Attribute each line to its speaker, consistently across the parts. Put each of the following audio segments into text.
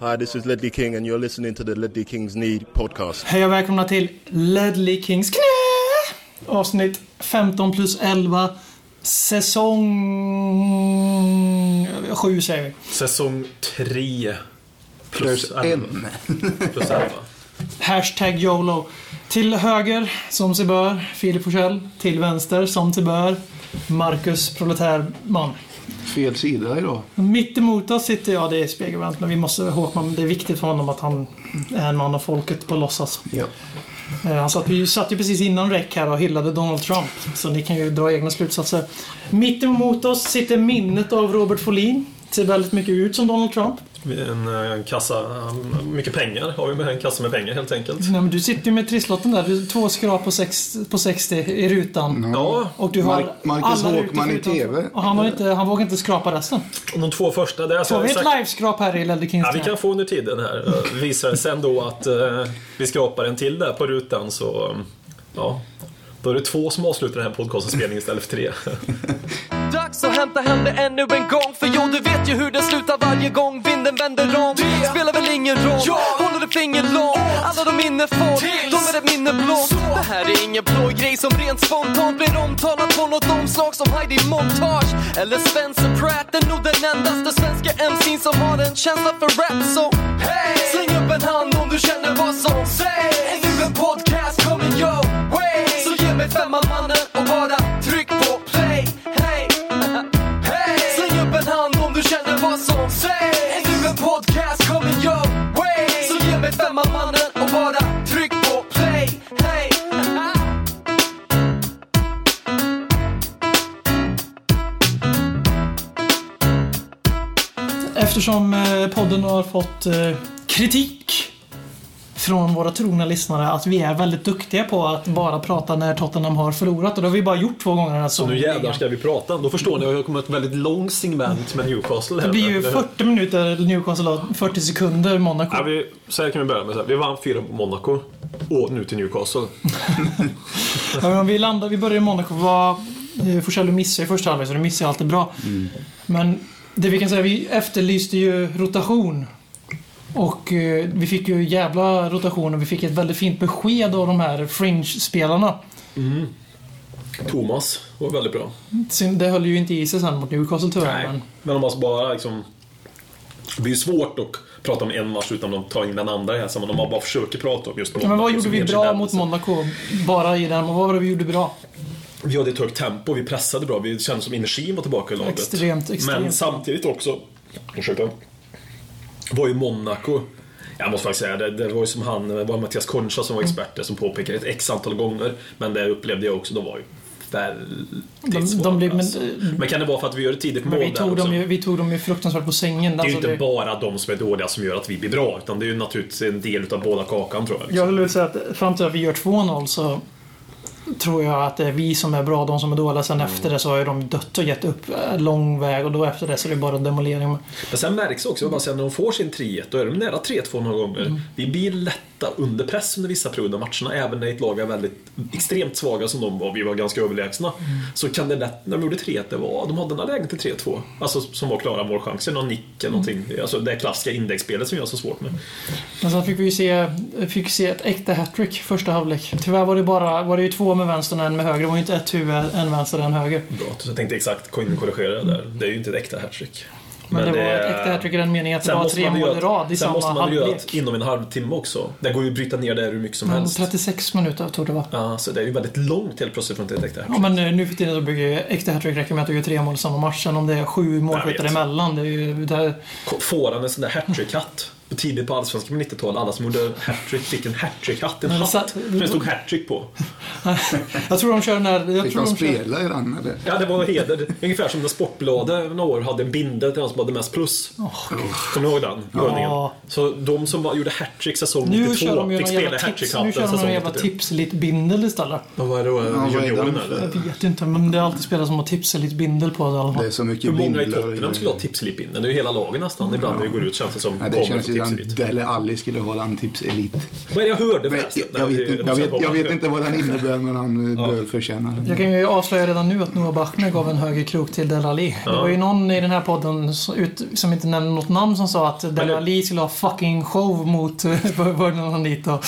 Speaker 1: Hi, this is Ledley King and you're listening to the Ledley Kings Need podcast.
Speaker 2: Hej och välkomna till Ledley Kings knä! Avsnitt 15 plus 11. Säsong... 7 säger vi.
Speaker 3: Säsong 3.
Speaker 4: Plus en.
Speaker 3: Plus 11.
Speaker 2: Hashtag YOLO. Till höger, som sig bör, Filip Forsell. Till vänster, som sig bör, Marcus Proletärman.
Speaker 4: Fel sida idag.
Speaker 2: Mitt emot oss sitter jag, det är spegelvänt, men vi måste Håkman, det är viktigt för honom att han är en man av folket på låtsas.
Speaker 4: Ja.
Speaker 2: Eh, Han satt, vi satt ju precis innan räck här och hyllade Donald Trump, så ni kan ju dra egna slutsatser. Mitt emot oss sitter minnet av Robert Folin. Ser väldigt mycket ut som Donald Trump.
Speaker 3: En, eh, kassa, eh, mycket pengar har vi med en kassa med pengar helt enkelt.
Speaker 2: Nej, men du sitter ju med trisslotten där. Du, två skrap på, sex, på 60 i rutan.
Speaker 3: Ja,
Speaker 2: Och du har
Speaker 4: Mark- Marcus
Speaker 2: alla
Speaker 4: Håkman
Speaker 2: rutor
Speaker 4: i
Speaker 2: förutom-
Speaker 4: TV.
Speaker 2: Och han, har inte, han vågar inte skrapa resten.
Speaker 3: de två första. Där
Speaker 2: Får
Speaker 3: sa
Speaker 2: vi
Speaker 3: jag
Speaker 2: ett
Speaker 3: exakt,
Speaker 2: liveskrap här i Ledley Kings
Speaker 3: ja, vi
Speaker 2: knä?
Speaker 3: kan få under tiden här. Eh, Visar det sen då att eh, vi skrapar en till där på rutan så eh, ja. Då är det två som avslutar den här podcastinspelningen istället för tre.
Speaker 5: Dags att hämta hem det ännu en gång För jo, du vet ju hur det slutar varje gång vinden vänder om Det spelar väl ingen roll, håller ett finger långt Alla de minne får, de är ett minne blått Det här är ingen blå grej som rent spontant blir omtalat på något omslag som Heidi Montage eller Spencer Pratt Är nog den endaste svenska MC'n som har en känsla för rap så hey! Släng upp en hand om du känner vad som sägs Är nu en podcast kommer your way Så ge mig femman mannen och bara tryck på play Hey! Hey! Släng upp en hand om du känner vad som sägs Är nu en podcast kommer your way Så ge mig femman mannen och bara tryck på play Hey!
Speaker 2: Eftersom eh, podden har fått eh, kritik från våra trogna lyssnare att vi är väldigt duktiga på att bara prata när Tottenham har förlorat. Och det har vi bara gjort två gånger den här
Speaker 3: Så nu jävlar
Speaker 2: säsongen.
Speaker 3: ska vi prata. Då förstår ni, jag har kommit ett väldigt långt segment med Newcastle. här.
Speaker 2: Det blir ju
Speaker 3: Eller hur?
Speaker 2: 40 minuter Newcastle och 40 sekunder Monaco.
Speaker 3: Ja, vi, så här kan vi börja med. Så här. Vi vann fyra på Monaco och nu till Newcastle.
Speaker 2: Ja, men om vi, landar, vi börjar i Monaco. Vad, eh, Forsell du missar ju första halvlek, så du missar ju alltid bra. Men det vi kan säga, vi efterlyste ju rotation. Och eh, vi fick ju jävla rotation och vi fick ett väldigt fint besked av de här fringe-spelarna.
Speaker 3: Thomas var väldigt bra.
Speaker 2: Synd, Det höll ju inte i sig sen mot Newcastle tyvärr.
Speaker 3: Nej,
Speaker 2: Men
Speaker 3: men om man bara liksom... Det är ju svårt att prata om en match utan att ta in den andra i det här sammanhanget. Om man bara försöker prata om just
Speaker 2: Ja, men vad
Speaker 3: Monaco
Speaker 2: gjorde
Speaker 3: som
Speaker 2: vi
Speaker 3: enskild
Speaker 2: bra mot
Speaker 3: händelse.
Speaker 2: Monaco? Bara i den, och vad var det vi gjorde bra?
Speaker 3: Vi hade ett högt tempo, vi pressade bra, vi kände som energin var tillbaka i laget.
Speaker 2: Extremt, extremt.
Speaker 3: Men samtidigt också, ursäkta, var ju Monaco jag måste faktiskt säga det, det var ju som han, det var Mattias Concha som var
Speaker 2: Mm.
Speaker 3: expert där, som påpekade ett x antal gånger. Men det upplevde jag också, de var ju
Speaker 2: De-
Speaker 3: väldigt
Speaker 2: de
Speaker 3: svåra.
Speaker 2: blev- men-
Speaker 3: alltså. men kan det vara för att vi gör ett tidigt mål
Speaker 2: Men vi
Speaker 3: där
Speaker 2: tog,
Speaker 3: också?
Speaker 2: dem ju, vi tog dem ju fruktansvärt på sängen.
Speaker 3: Det är ju
Speaker 2: Alltså,
Speaker 3: inte
Speaker 2: det-
Speaker 3: bara de som är dåliga som gör att vi blir bra, utan det är ju naturligtvis en del utav båda kakan tror jag. Liksom.
Speaker 2: Jag vill säga att fram till att vi gör 2-0 så tror jag att det är vi som är bra, de som är dåliga. Sen
Speaker 3: Mm.
Speaker 2: efter det så har ju de dött och gett upp eh, lång väg och då efter det så är det bara demolering.
Speaker 3: Men sen märks också, jag bara säger, när de får sin 3-1, då är de nära 3-2 några gånger.
Speaker 2: Mm.
Speaker 3: Vi blir lätta under press under vissa perioder av matcherna, även när ett lag är väldigt extremt svaga som de var, vi var ganska överlägsna.
Speaker 2: Mm.
Speaker 3: Så kan det lätt, när de gjorde 3-1, det var, de hade den här lägen till 3-2. Alltså som var klara målchanser, någon nick eller någonting.
Speaker 2: Mm.
Speaker 3: Alltså det klassiska indexspelet som jag har så svårt med.
Speaker 2: Men sen fick vi ju se, fick se ett äkta hattrick första halvlek. Tyvärr var det, bara, var det ju två med vänstern och en med höger. Det var ju inte ett huvud, en vänster och en höger.
Speaker 3: Bra, så jag tänkte exakt korrigera det där. Det är ju inte ett äkta hattrick. eh,
Speaker 2: Men, det var
Speaker 3: är-
Speaker 2: ett äkta hattrick i den meningen att det
Speaker 3: Sen
Speaker 2: var
Speaker 3: måste
Speaker 2: tre
Speaker 3: man ju
Speaker 2: mål i
Speaker 3: göra,
Speaker 2: rad i
Speaker 3: sen måste
Speaker 2: samma
Speaker 3: man ju göra ett
Speaker 2: halvlek.
Speaker 3: inom en halvtimme också. Det går ju att bryta ner det hur mycket som
Speaker 2: Men
Speaker 3: helst.
Speaker 2: 36 minuter tror jag det var.
Speaker 3: Ja, så det är ju väldigt långt helt plötsligt från ett äkta
Speaker 2: Ja, men eh, nu för tiden så bygger ju äkta hattrick räcker med att du gör tre mål i samma match. Sen om det är sju målskyttar
Speaker 3: vet.
Speaker 2: emellan, det är ju... Det här,
Speaker 3: Får han en sån där hattrick-hatt? Tidigt på Allsvenskan på 90-talet, alla som gjorde hattrick fick en hattrick-hatt, en
Speaker 2: Men det
Speaker 3: hatt.
Speaker 2: satt-
Speaker 3: För det stod hattrick på.
Speaker 2: Jag tror de kör den här... Jag
Speaker 4: Fick
Speaker 2: tror
Speaker 4: han
Speaker 2: de kör,
Speaker 4: spela i den eller?
Speaker 3: Ja, det var en heder. Ungefär som när Sportbladet några år hade en bindel till den som hade mest plus. Kommer ni ihåg den övningen? Så de som var, gjorde hattrick säsong
Speaker 2: nu kör
Speaker 3: 92
Speaker 2: de ju
Speaker 3: fick
Speaker 2: någon
Speaker 3: spela
Speaker 2: jävla tips, nu
Speaker 3: hattrick-hatten
Speaker 2: kör de någon
Speaker 3: säsong
Speaker 2: jävla
Speaker 3: 93.
Speaker 2: tipselitbindel istället.
Speaker 3: Vad var det då?
Speaker 4: vad är det
Speaker 3: Junioren
Speaker 4: för-
Speaker 3: eller?
Speaker 2: Jag vet inte, men det är alltid spelare som har tipselitbindel på sig i alla
Speaker 4: Det
Speaker 2: fall.
Speaker 4: är så
Speaker 3: Hur
Speaker 4: mycket
Speaker 3: många i
Speaker 4: bindlar och
Speaker 3: Tottenham skulle ha tipslipindeln? Det är ju hela laget nästan. Ibland när vi går ut känns det som. kommer
Speaker 4: Nej, det känns
Speaker 3: på
Speaker 4: ju som
Speaker 3: tipselit.
Speaker 4: att Dele Alli skulle hålla en tipselit.
Speaker 3: Vad är det jag hörde
Speaker 4: Men
Speaker 3: förresten?
Speaker 4: Jag jag vet, inte- jag, vet, jag vet inte vad den innebär där, men han eh, ja. bör förtjäna det.
Speaker 2: Jag kan ju avslöja redan nu att Noah Bachner gav en högerkrok till Delali. Det var ju någon i den här podden som, ut, som inte nämnde något namn som sa att Delali skulle ha fucking show mot Vernon Anita.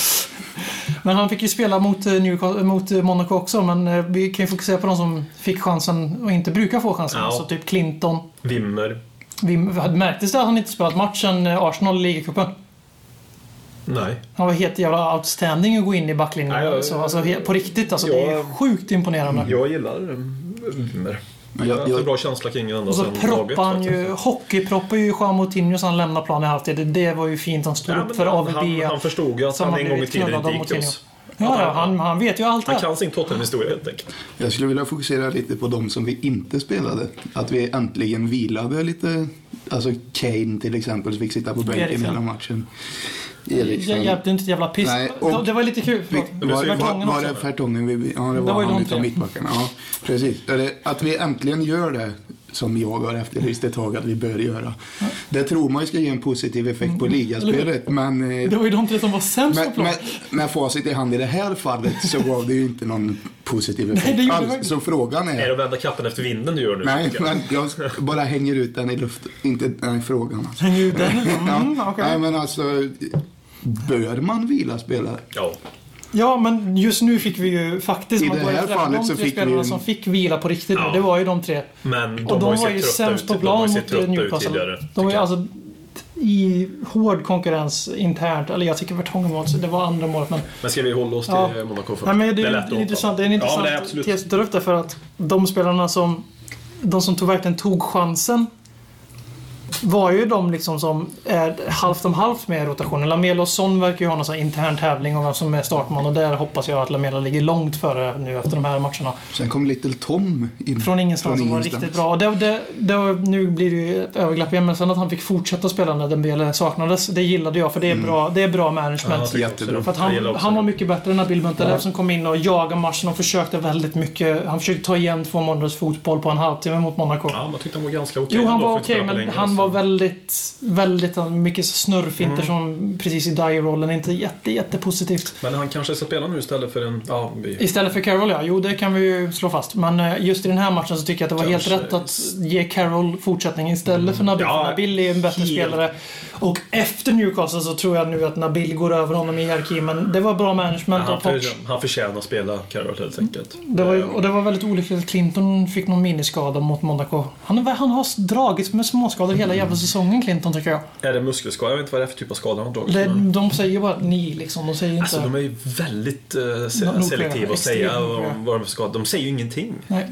Speaker 2: Men han fick ju spela mot, eh, Newca- mot eh, Monaco också, men eh, vi kan ju fokusera på de som fick chansen och inte brukar få chansen.
Speaker 3: Ja.
Speaker 2: Så typ Clinton.
Speaker 3: Wimmer.
Speaker 2: Vi märktes det att han inte spelat matchen eh, Arsenal i ligacupen?
Speaker 3: Nej.
Speaker 2: Han var helt jävla outstanding att gå in i backlinjen.
Speaker 3: Ja, ja, ja.
Speaker 2: Så, alltså, he- på riktigt alltså. Det är
Speaker 3: Ja.
Speaker 2: sjukt imponerande.
Speaker 3: Jag gillar eh, Wimmer. Jag
Speaker 4: Men jag,
Speaker 3: har haft en
Speaker 4: jag,
Speaker 3: bra känsla kring den ända
Speaker 2: Och så
Speaker 3: sedan Alltså, laget,
Speaker 2: proppar han ju,
Speaker 3: faktiskt.
Speaker 2: hockeyproppar ju Juan Moutinho så han lämnar planen i halvtid. Det- Det var ju fint. Han stod
Speaker 3: Ja,
Speaker 2: upp
Speaker 3: men
Speaker 2: för
Speaker 3: han-
Speaker 2: AVB.
Speaker 3: han- han förstod ju att
Speaker 2: som
Speaker 3: han
Speaker 2: har
Speaker 3: en gång i
Speaker 2: blivit
Speaker 3: tiden
Speaker 2: knullad av
Speaker 3: inte gick till
Speaker 2: Moutinho.
Speaker 3: oss.
Speaker 2: Ja, ja, han, han vet ju allt det
Speaker 3: Han
Speaker 2: här.
Speaker 3: kan sin Tottenham-historia helt enkelt.
Speaker 4: jag skulle vilja fokusera lite på de som vi inte spelade. Att vi äntligen vilade lite. Alltså Kane till exempel fick sitta på bänken
Speaker 2: Eriksen.
Speaker 4: hela matchen.
Speaker 2: Jag hjälpte inte ett jävla piss.
Speaker 4: Nej,
Speaker 2: det,
Speaker 4: och-
Speaker 2: det var lite kul.
Speaker 4: Vi-
Speaker 2: Förlåt.
Speaker 4: Var, det- var,
Speaker 2: Vertongen
Speaker 4: var
Speaker 2: också.
Speaker 4: det Fertongen vi... Ja, det var,
Speaker 2: Det var ju de tre.
Speaker 4: han utav mittbackarna. Ja, precis. Eller Att vi äntligen gör det som jag har efterlyst ett tag att vi bör göra. Det tror man ju ska ge en positiv effekt på ligaspelet, men... eh,
Speaker 2: Mm. Det var ju de tre som var sämst på
Speaker 4: Med,
Speaker 2: plan.
Speaker 4: med, med facit i hand i det här fallet så gav det ju inte någon positiv
Speaker 2: Nej, det
Speaker 4: effekt
Speaker 2: gjorde det
Speaker 4: alls.
Speaker 2: verkligen.
Speaker 4: Så frågan
Speaker 3: Är det
Speaker 4: är...
Speaker 3: att vända kappen efter vinden du gör nu?
Speaker 4: Nej,
Speaker 3: tycker jag?
Speaker 4: men jag bara hänger ut den i luften. Inte nej, frågan alltså.
Speaker 2: Hänger ju den mm,
Speaker 4: Ja,
Speaker 2: okej.
Speaker 4: Nej, men alltså... Bör man vila spelare?
Speaker 3: Ja.
Speaker 2: Ja, men just nu fick vi ju faktiskt...
Speaker 4: I
Speaker 2: man
Speaker 4: det
Speaker 2: går ju
Speaker 4: här
Speaker 2: träffa
Speaker 4: fallet
Speaker 2: de
Speaker 4: så
Speaker 2: tre
Speaker 4: fick vi
Speaker 2: spelarna
Speaker 4: ju-
Speaker 2: som fick vila på riktigt
Speaker 3: Ja.
Speaker 2: nu, det var ju de tre.
Speaker 3: Men de,
Speaker 2: Och de,
Speaker 3: har ju
Speaker 2: var
Speaker 3: sett
Speaker 2: ju
Speaker 3: trötta
Speaker 2: sämst
Speaker 3: ut. typ,
Speaker 2: på
Speaker 3: de har
Speaker 2: plan mot
Speaker 3: ju sett
Speaker 2: eh,
Speaker 3: trötta ut
Speaker 2: Newcastle.
Speaker 3: tidigare.
Speaker 2: De var ju
Speaker 3: tycker jag.
Speaker 2: alltså i hård konkurrens internt. Eller jag tycker Vertongen var det var andra målet men...
Speaker 3: Men ska vi hålla oss till
Speaker 2: Ja.
Speaker 3: Monaco först?
Speaker 2: Nej, men det, är
Speaker 3: lätt att
Speaker 2: ju
Speaker 3: hoppa.
Speaker 2: intressant, det är en
Speaker 3: Ja,
Speaker 2: intressant
Speaker 3: det är absolut.
Speaker 2: tes du tar upp där för att de spelarna som... De som tog, verkligen tog chansen var ju de liksom som är halvt om halvt med rotationen. Lamela och Son verkar ju ha någon sån här intern tävling om vem som är startman och där hoppas jag att Lamela ligger långt före nu efter de här matcherna.
Speaker 4: Sen kom Little Tom in.
Speaker 2: Från ingenstans som var
Speaker 4: ingenstans.
Speaker 2: riktigt bra. Och Det, det, det, nu blir det ju ett överglapp igen, men sen att han fick fortsätta spela när Dembele saknades, det gillade jag för det är bra, det är bra
Speaker 3: Mm. Ja, jag
Speaker 2: management.
Speaker 3: tycker också
Speaker 4: Jättebra.
Speaker 3: det.
Speaker 2: för att
Speaker 3: Jag gillar
Speaker 2: han,
Speaker 3: också
Speaker 2: han var
Speaker 3: det.
Speaker 2: mycket bättre än Nabil Bentaleb som kom in och jagade matchen och försökte väldigt mycket. Han försökte ta igen två månaders fotboll på en halvtimme mot Monaco.
Speaker 3: Ja, man tyckte han var ganska okej.
Speaker 2: Jo, han
Speaker 3: ändå,
Speaker 2: var
Speaker 3: för att
Speaker 2: okej,
Speaker 3: spela på
Speaker 2: men
Speaker 3: länge,
Speaker 2: han
Speaker 3: alltså. Mm.
Speaker 2: var väldigt, väldigt mycket snurrfinter som precis i Die-rollen. Inte jätte, jätte positivt.
Speaker 3: Men han kanske ska spela nu istället för en... Ja, vi...
Speaker 2: Istället för Carroll, ja. Jo, det kan vi ju slå fast. Men eh, just i den här matchen så tycker jag att det var helt
Speaker 3: Kanske.
Speaker 2: rätt att ge Carroll fortsättning istället för Nabil.
Speaker 3: Mm. Ja,
Speaker 2: för Nabil är en bättre
Speaker 3: helt.
Speaker 2: spelare. Och efter Newcastle så tror jag nu att Nabil går över honom i hierarkin. Men det var bra
Speaker 3: Ja,
Speaker 2: management av
Speaker 3: han,
Speaker 2: Poch.
Speaker 3: för, han förtjänar att spela Carroll helt enkelt.
Speaker 2: Det var, ju-
Speaker 3: Eh,
Speaker 2: och det var väldigt olyckligt att Clinton fick någon miniskada mot Monaco. Han, han har dragits med småskador hela jävla
Speaker 3: Mm.
Speaker 2: säsongen, Clinton, tycker jag.
Speaker 3: Är det muskelskada? Jag vet inte vad det är för typ av skada han har dragit.
Speaker 2: Det,
Speaker 3: men-
Speaker 2: de säger ju bara att ni liksom. De säger inte...
Speaker 3: Alltså de är ju väldigt eh, se-
Speaker 2: Noga,
Speaker 3: selektiva att säga
Speaker 2: extremt noga.
Speaker 3: om vad de för skada. De säger ju ingenting.
Speaker 2: Nej.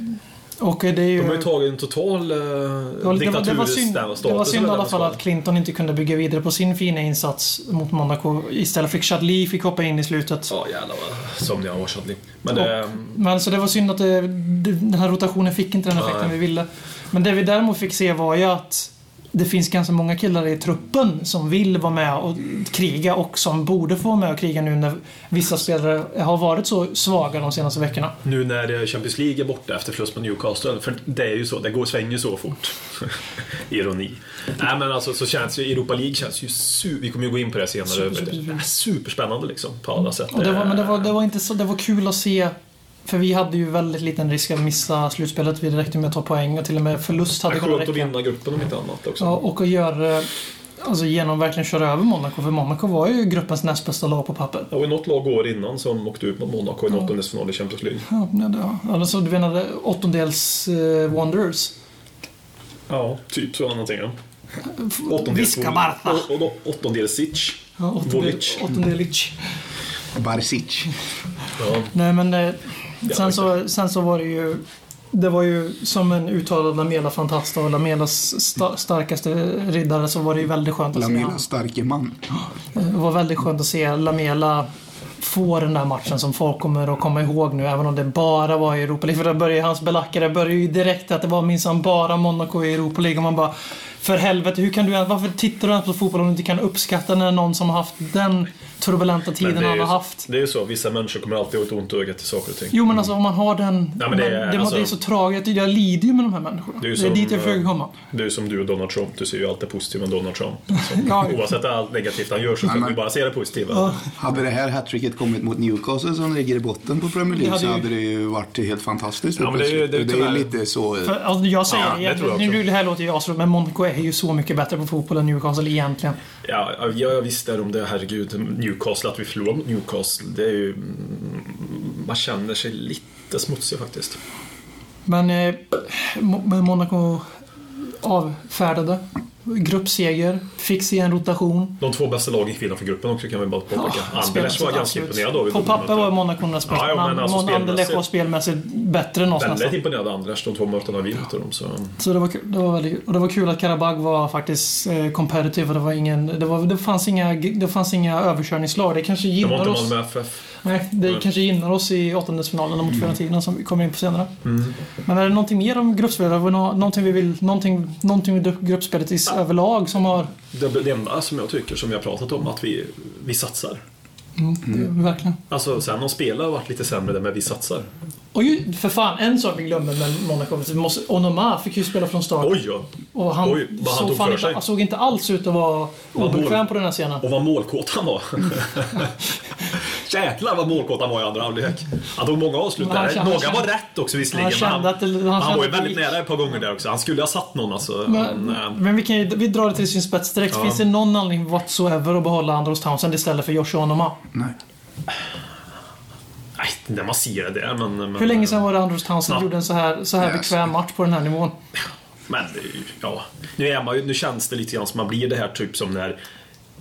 Speaker 2: Och eh, det är ju...
Speaker 3: De har ju tagit en total eh,
Speaker 2: Det var, det, var, det, var
Speaker 3: diktaturstatus
Speaker 2: synd,
Speaker 3: där och
Speaker 2: det var
Speaker 3: status
Speaker 2: synd i
Speaker 3: över
Speaker 2: alla
Speaker 3: den
Speaker 2: fall
Speaker 3: skadan.
Speaker 2: att Clinton inte kunde bygga vidare på sin fina insats mot Monaco. Istället fick Chadli fick hoppa in i slutet.
Speaker 3: Ja, jävlar vad sömnig jag var, Chadli. Men ehm, det...
Speaker 2: Men så det var synd att det, det, den här rotationen fick inte den effekten
Speaker 3: Nej.
Speaker 2: vi ville. Men det vi däremot fick se var ju att det finns ganska många killar i truppen som vill vara med och kriga och som borde få vara med och kriga nu när vissa spelare har varit så svaga de senaste veckorna.
Speaker 3: Nu när Champions League är borta efter förlust mot Newcastle, för det är ju så, det går, svänger ju så fort. Ironi. Nej men alltså så känns ju, Europa League känns ju super, vi kommer ju gå in på det senare,
Speaker 2: Super, super,
Speaker 3: men det
Speaker 2: super.
Speaker 3: är superspännande liksom på alla sätt.
Speaker 2: Och det var, men det var, det var inte så, det var kul att se. För vi hade ju väldigt liten risk att missa slutspelet. Vi räckte med att ta poäng och till och med förlust
Speaker 3: det
Speaker 2: hade
Speaker 3: är
Speaker 2: kunnat
Speaker 3: skönt att
Speaker 2: räcka.
Speaker 3: vinna gruppen om inte annat också.
Speaker 2: Ja, och att göra, alltså genom att verkligen köra över Monaco. För Monaco var ju gruppens näst bästa lag på papper.
Speaker 3: Det var ju något lag år innan som åkte ut mot Monaco i en åttondelsfinal i Champions League.
Speaker 2: Ja, nej, det- ja. Alltså du menade åttondels eh, Wanderers?
Speaker 3: Ja, typ så någonting. ja.
Speaker 2: Viska Barca.
Speaker 3: och- och då Åttondels Sitch.
Speaker 2: Ja, åttondel-
Speaker 3: Volic.
Speaker 2: åttondelic.
Speaker 4: Barisic.
Speaker 3: Ja.
Speaker 2: Nej men eh,
Speaker 3: var
Speaker 2: sen, så, sen så var det ju Det var ju som en uttalad Lamela-fantast och Lamelas sta- starkaste riddare så var det ju väldigt skönt att se Eh,
Speaker 4: Lamela starke man.
Speaker 2: Det var väldigt skönt att se Lamela få den där matchen som folk kommer att komma ihåg nu, även om det bara var i Europa League. För där började hans belackare började ju direkt att det var minsann bara Monaco i Europa League. Och man bara För helvete, hur kan du, ens- varför tittar du ens på fotboll om du inte kan uppskatta när någon som har haft den turbulenta
Speaker 3: Men
Speaker 2: tiden
Speaker 3: det är
Speaker 2: han
Speaker 3: ju-
Speaker 2: har haft?
Speaker 3: Det är ju så, vissa människor kommer alltid åt ont öga till saker och ting.
Speaker 2: Jo men alltså om man har den...
Speaker 3: Ja, men det är-
Speaker 2: man- det,
Speaker 3: alltså-
Speaker 2: det är så tragiskt, jag lider ju med de här människorna. Det
Speaker 3: Det är
Speaker 2: är,
Speaker 3: ju som,
Speaker 2: dit jag försöker
Speaker 3: eh,
Speaker 2: komma.
Speaker 3: Det är ju som du och Donald Trump, du ser ju allt det positiva med Donald Trump.
Speaker 2: Ja,
Speaker 3: Oavsett allt negativt han gör så
Speaker 4: Nej,
Speaker 3: kan
Speaker 4: men-
Speaker 3: du bara se det positiva.
Speaker 4: Hade det här hattricket kommit mot Newcastle som ligger i botten på Premier League
Speaker 2: Det hade
Speaker 4: så
Speaker 2: ju-
Speaker 4: hade det ju varit helt fantastiskt.
Speaker 3: Ja, men det är ju- det är ju
Speaker 4: Och det är
Speaker 3: tyvärr-
Speaker 4: ju lite så...
Speaker 2: För, alltså, jag säger
Speaker 3: Ja,
Speaker 2: det,
Speaker 3: det tror jag
Speaker 2: egentligen.
Speaker 3: också.
Speaker 2: nu, det här låter ju asroligt, men Monaco är ju så mycket bättre på fotboll än Newcastle egentligen.
Speaker 3: Ja, ja, jag visste om det. Herregud, Newcastle, att vi förlorar mot Newcastle, det är ju... mm, Man känner sig lite smutsig faktiskt.
Speaker 2: Men eh, Mo- men Monaco avfärdade. Gruppseger, fick se en rotation.
Speaker 3: De två bästa lagen kvinnan för gruppen också kan vi bara påpeka. Anderlecht var
Speaker 2: spelmässigt,
Speaker 3: ganska
Speaker 2: absolut.
Speaker 3: imponerad av
Speaker 2: På papper var Monaco nästan
Speaker 3: Ja, jo, men alltså
Speaker 2: Mon- Anderlecht var
Speaker 3: spelmässigt-
Speaker 2: spelmässigt bättre än oss
Speaker 3: Väldigt
Speaker 2: nästan.
Speaker 3: imponerad av Anderlecht, de två mötena vi mötte dem. Så.
Speaker 2: Så det var, kul- det var väldigt kul. Och det var kul att Karabag var faktiskt eh, competitive och det var ingen... Det, var, det, fanns inga, det fanns inga överkörningslag. Det kanske
Speaker 3: De
Speaker 2: gynnar
Speaker 3: var
Speaker 2: oss.
Speaker 3: inte Malmö FF.
Speaker 2: Nej, det
Speaker 3: Nej. Mm.
Speaker 2: kanske gynnar oss i åttondelsfinalerna mot Fiorentina som vi kommer in på senare. Men är det någonting mer om gruppspelet? Har vi nå- Någonting vi vill, någonting, någonting med gruppspelet i s- överlag som har...
Speaker 3: Det, det enda som jag tycker, som vi har pratat om, att vi, vi satsar.
Speaker 2: Verkligen.
Speaker 3: Alltså, sen om spelar har varit lite sämre, där, men vi satsar.
Speaker 2: Och ju, för fan, en sak vi glömde med Monaco. Vi måste- Onoma fick ju spela från start.
Speaker 3: Oj, ja.
Speaker 2: och han,
Speaker 3: oj, vad han
Speaker 2: såg,
Speaker 3: tog för
Speaker 2: fan
Speaker 3: sig.
Speaker 2: inte, såg inte alls ut att vara
Speaker 3: Vad dåligt.
Speaker 2: obekväm på den här scenen.
Speaker 3: Och vad målkåt han var. Jäklar vad målkåt han var i andra halvlek. Han tog många avslut
Speaker 2: Men han
Speaker 3: där.
Speaker 2: kände-
Speaker 3: Några
Speaker 2: han
Speaker 3: var
Speaker 2: kände-
Speaker 3: rätt också visserligen.
Speaker 2: han
Speaker 3: men
Speaker 2: kände att det- han
Speaker 3: han
Speaker 2: kände
Speaker 3: var ju
Speaker 2: att det
Speaker 3: väldigt
Speaker 2: gick.
Speaker 3: nära ett par gånger där också. Han skulle ha satt någon alltså.
Speaker 2: Men,
Speaker 3: eh,
Speaker 2: men vi, kan ju, vi drar det till sin spets direkt.
Speaker 3: Ja.
Speaker 2: Finns det någon anledning whatsoever att behålla Andros Townsend istället för Joshua Onoma?
Speaker 4: Nej.
Speaker 3: Nej, när man ser det där men... men
Speaker 2: Hur länge sedan var det Andros Townsend
Speaker 3: Ja.
Speaker 2: gjorde en så här, så här
Speaker 4: Ja,
Speaker 2: bekväm match på den här nivån?
Speaker 3: Men det är ju- ja, nu, är man, ju- nu känns det lite grann som man blir det här typ som när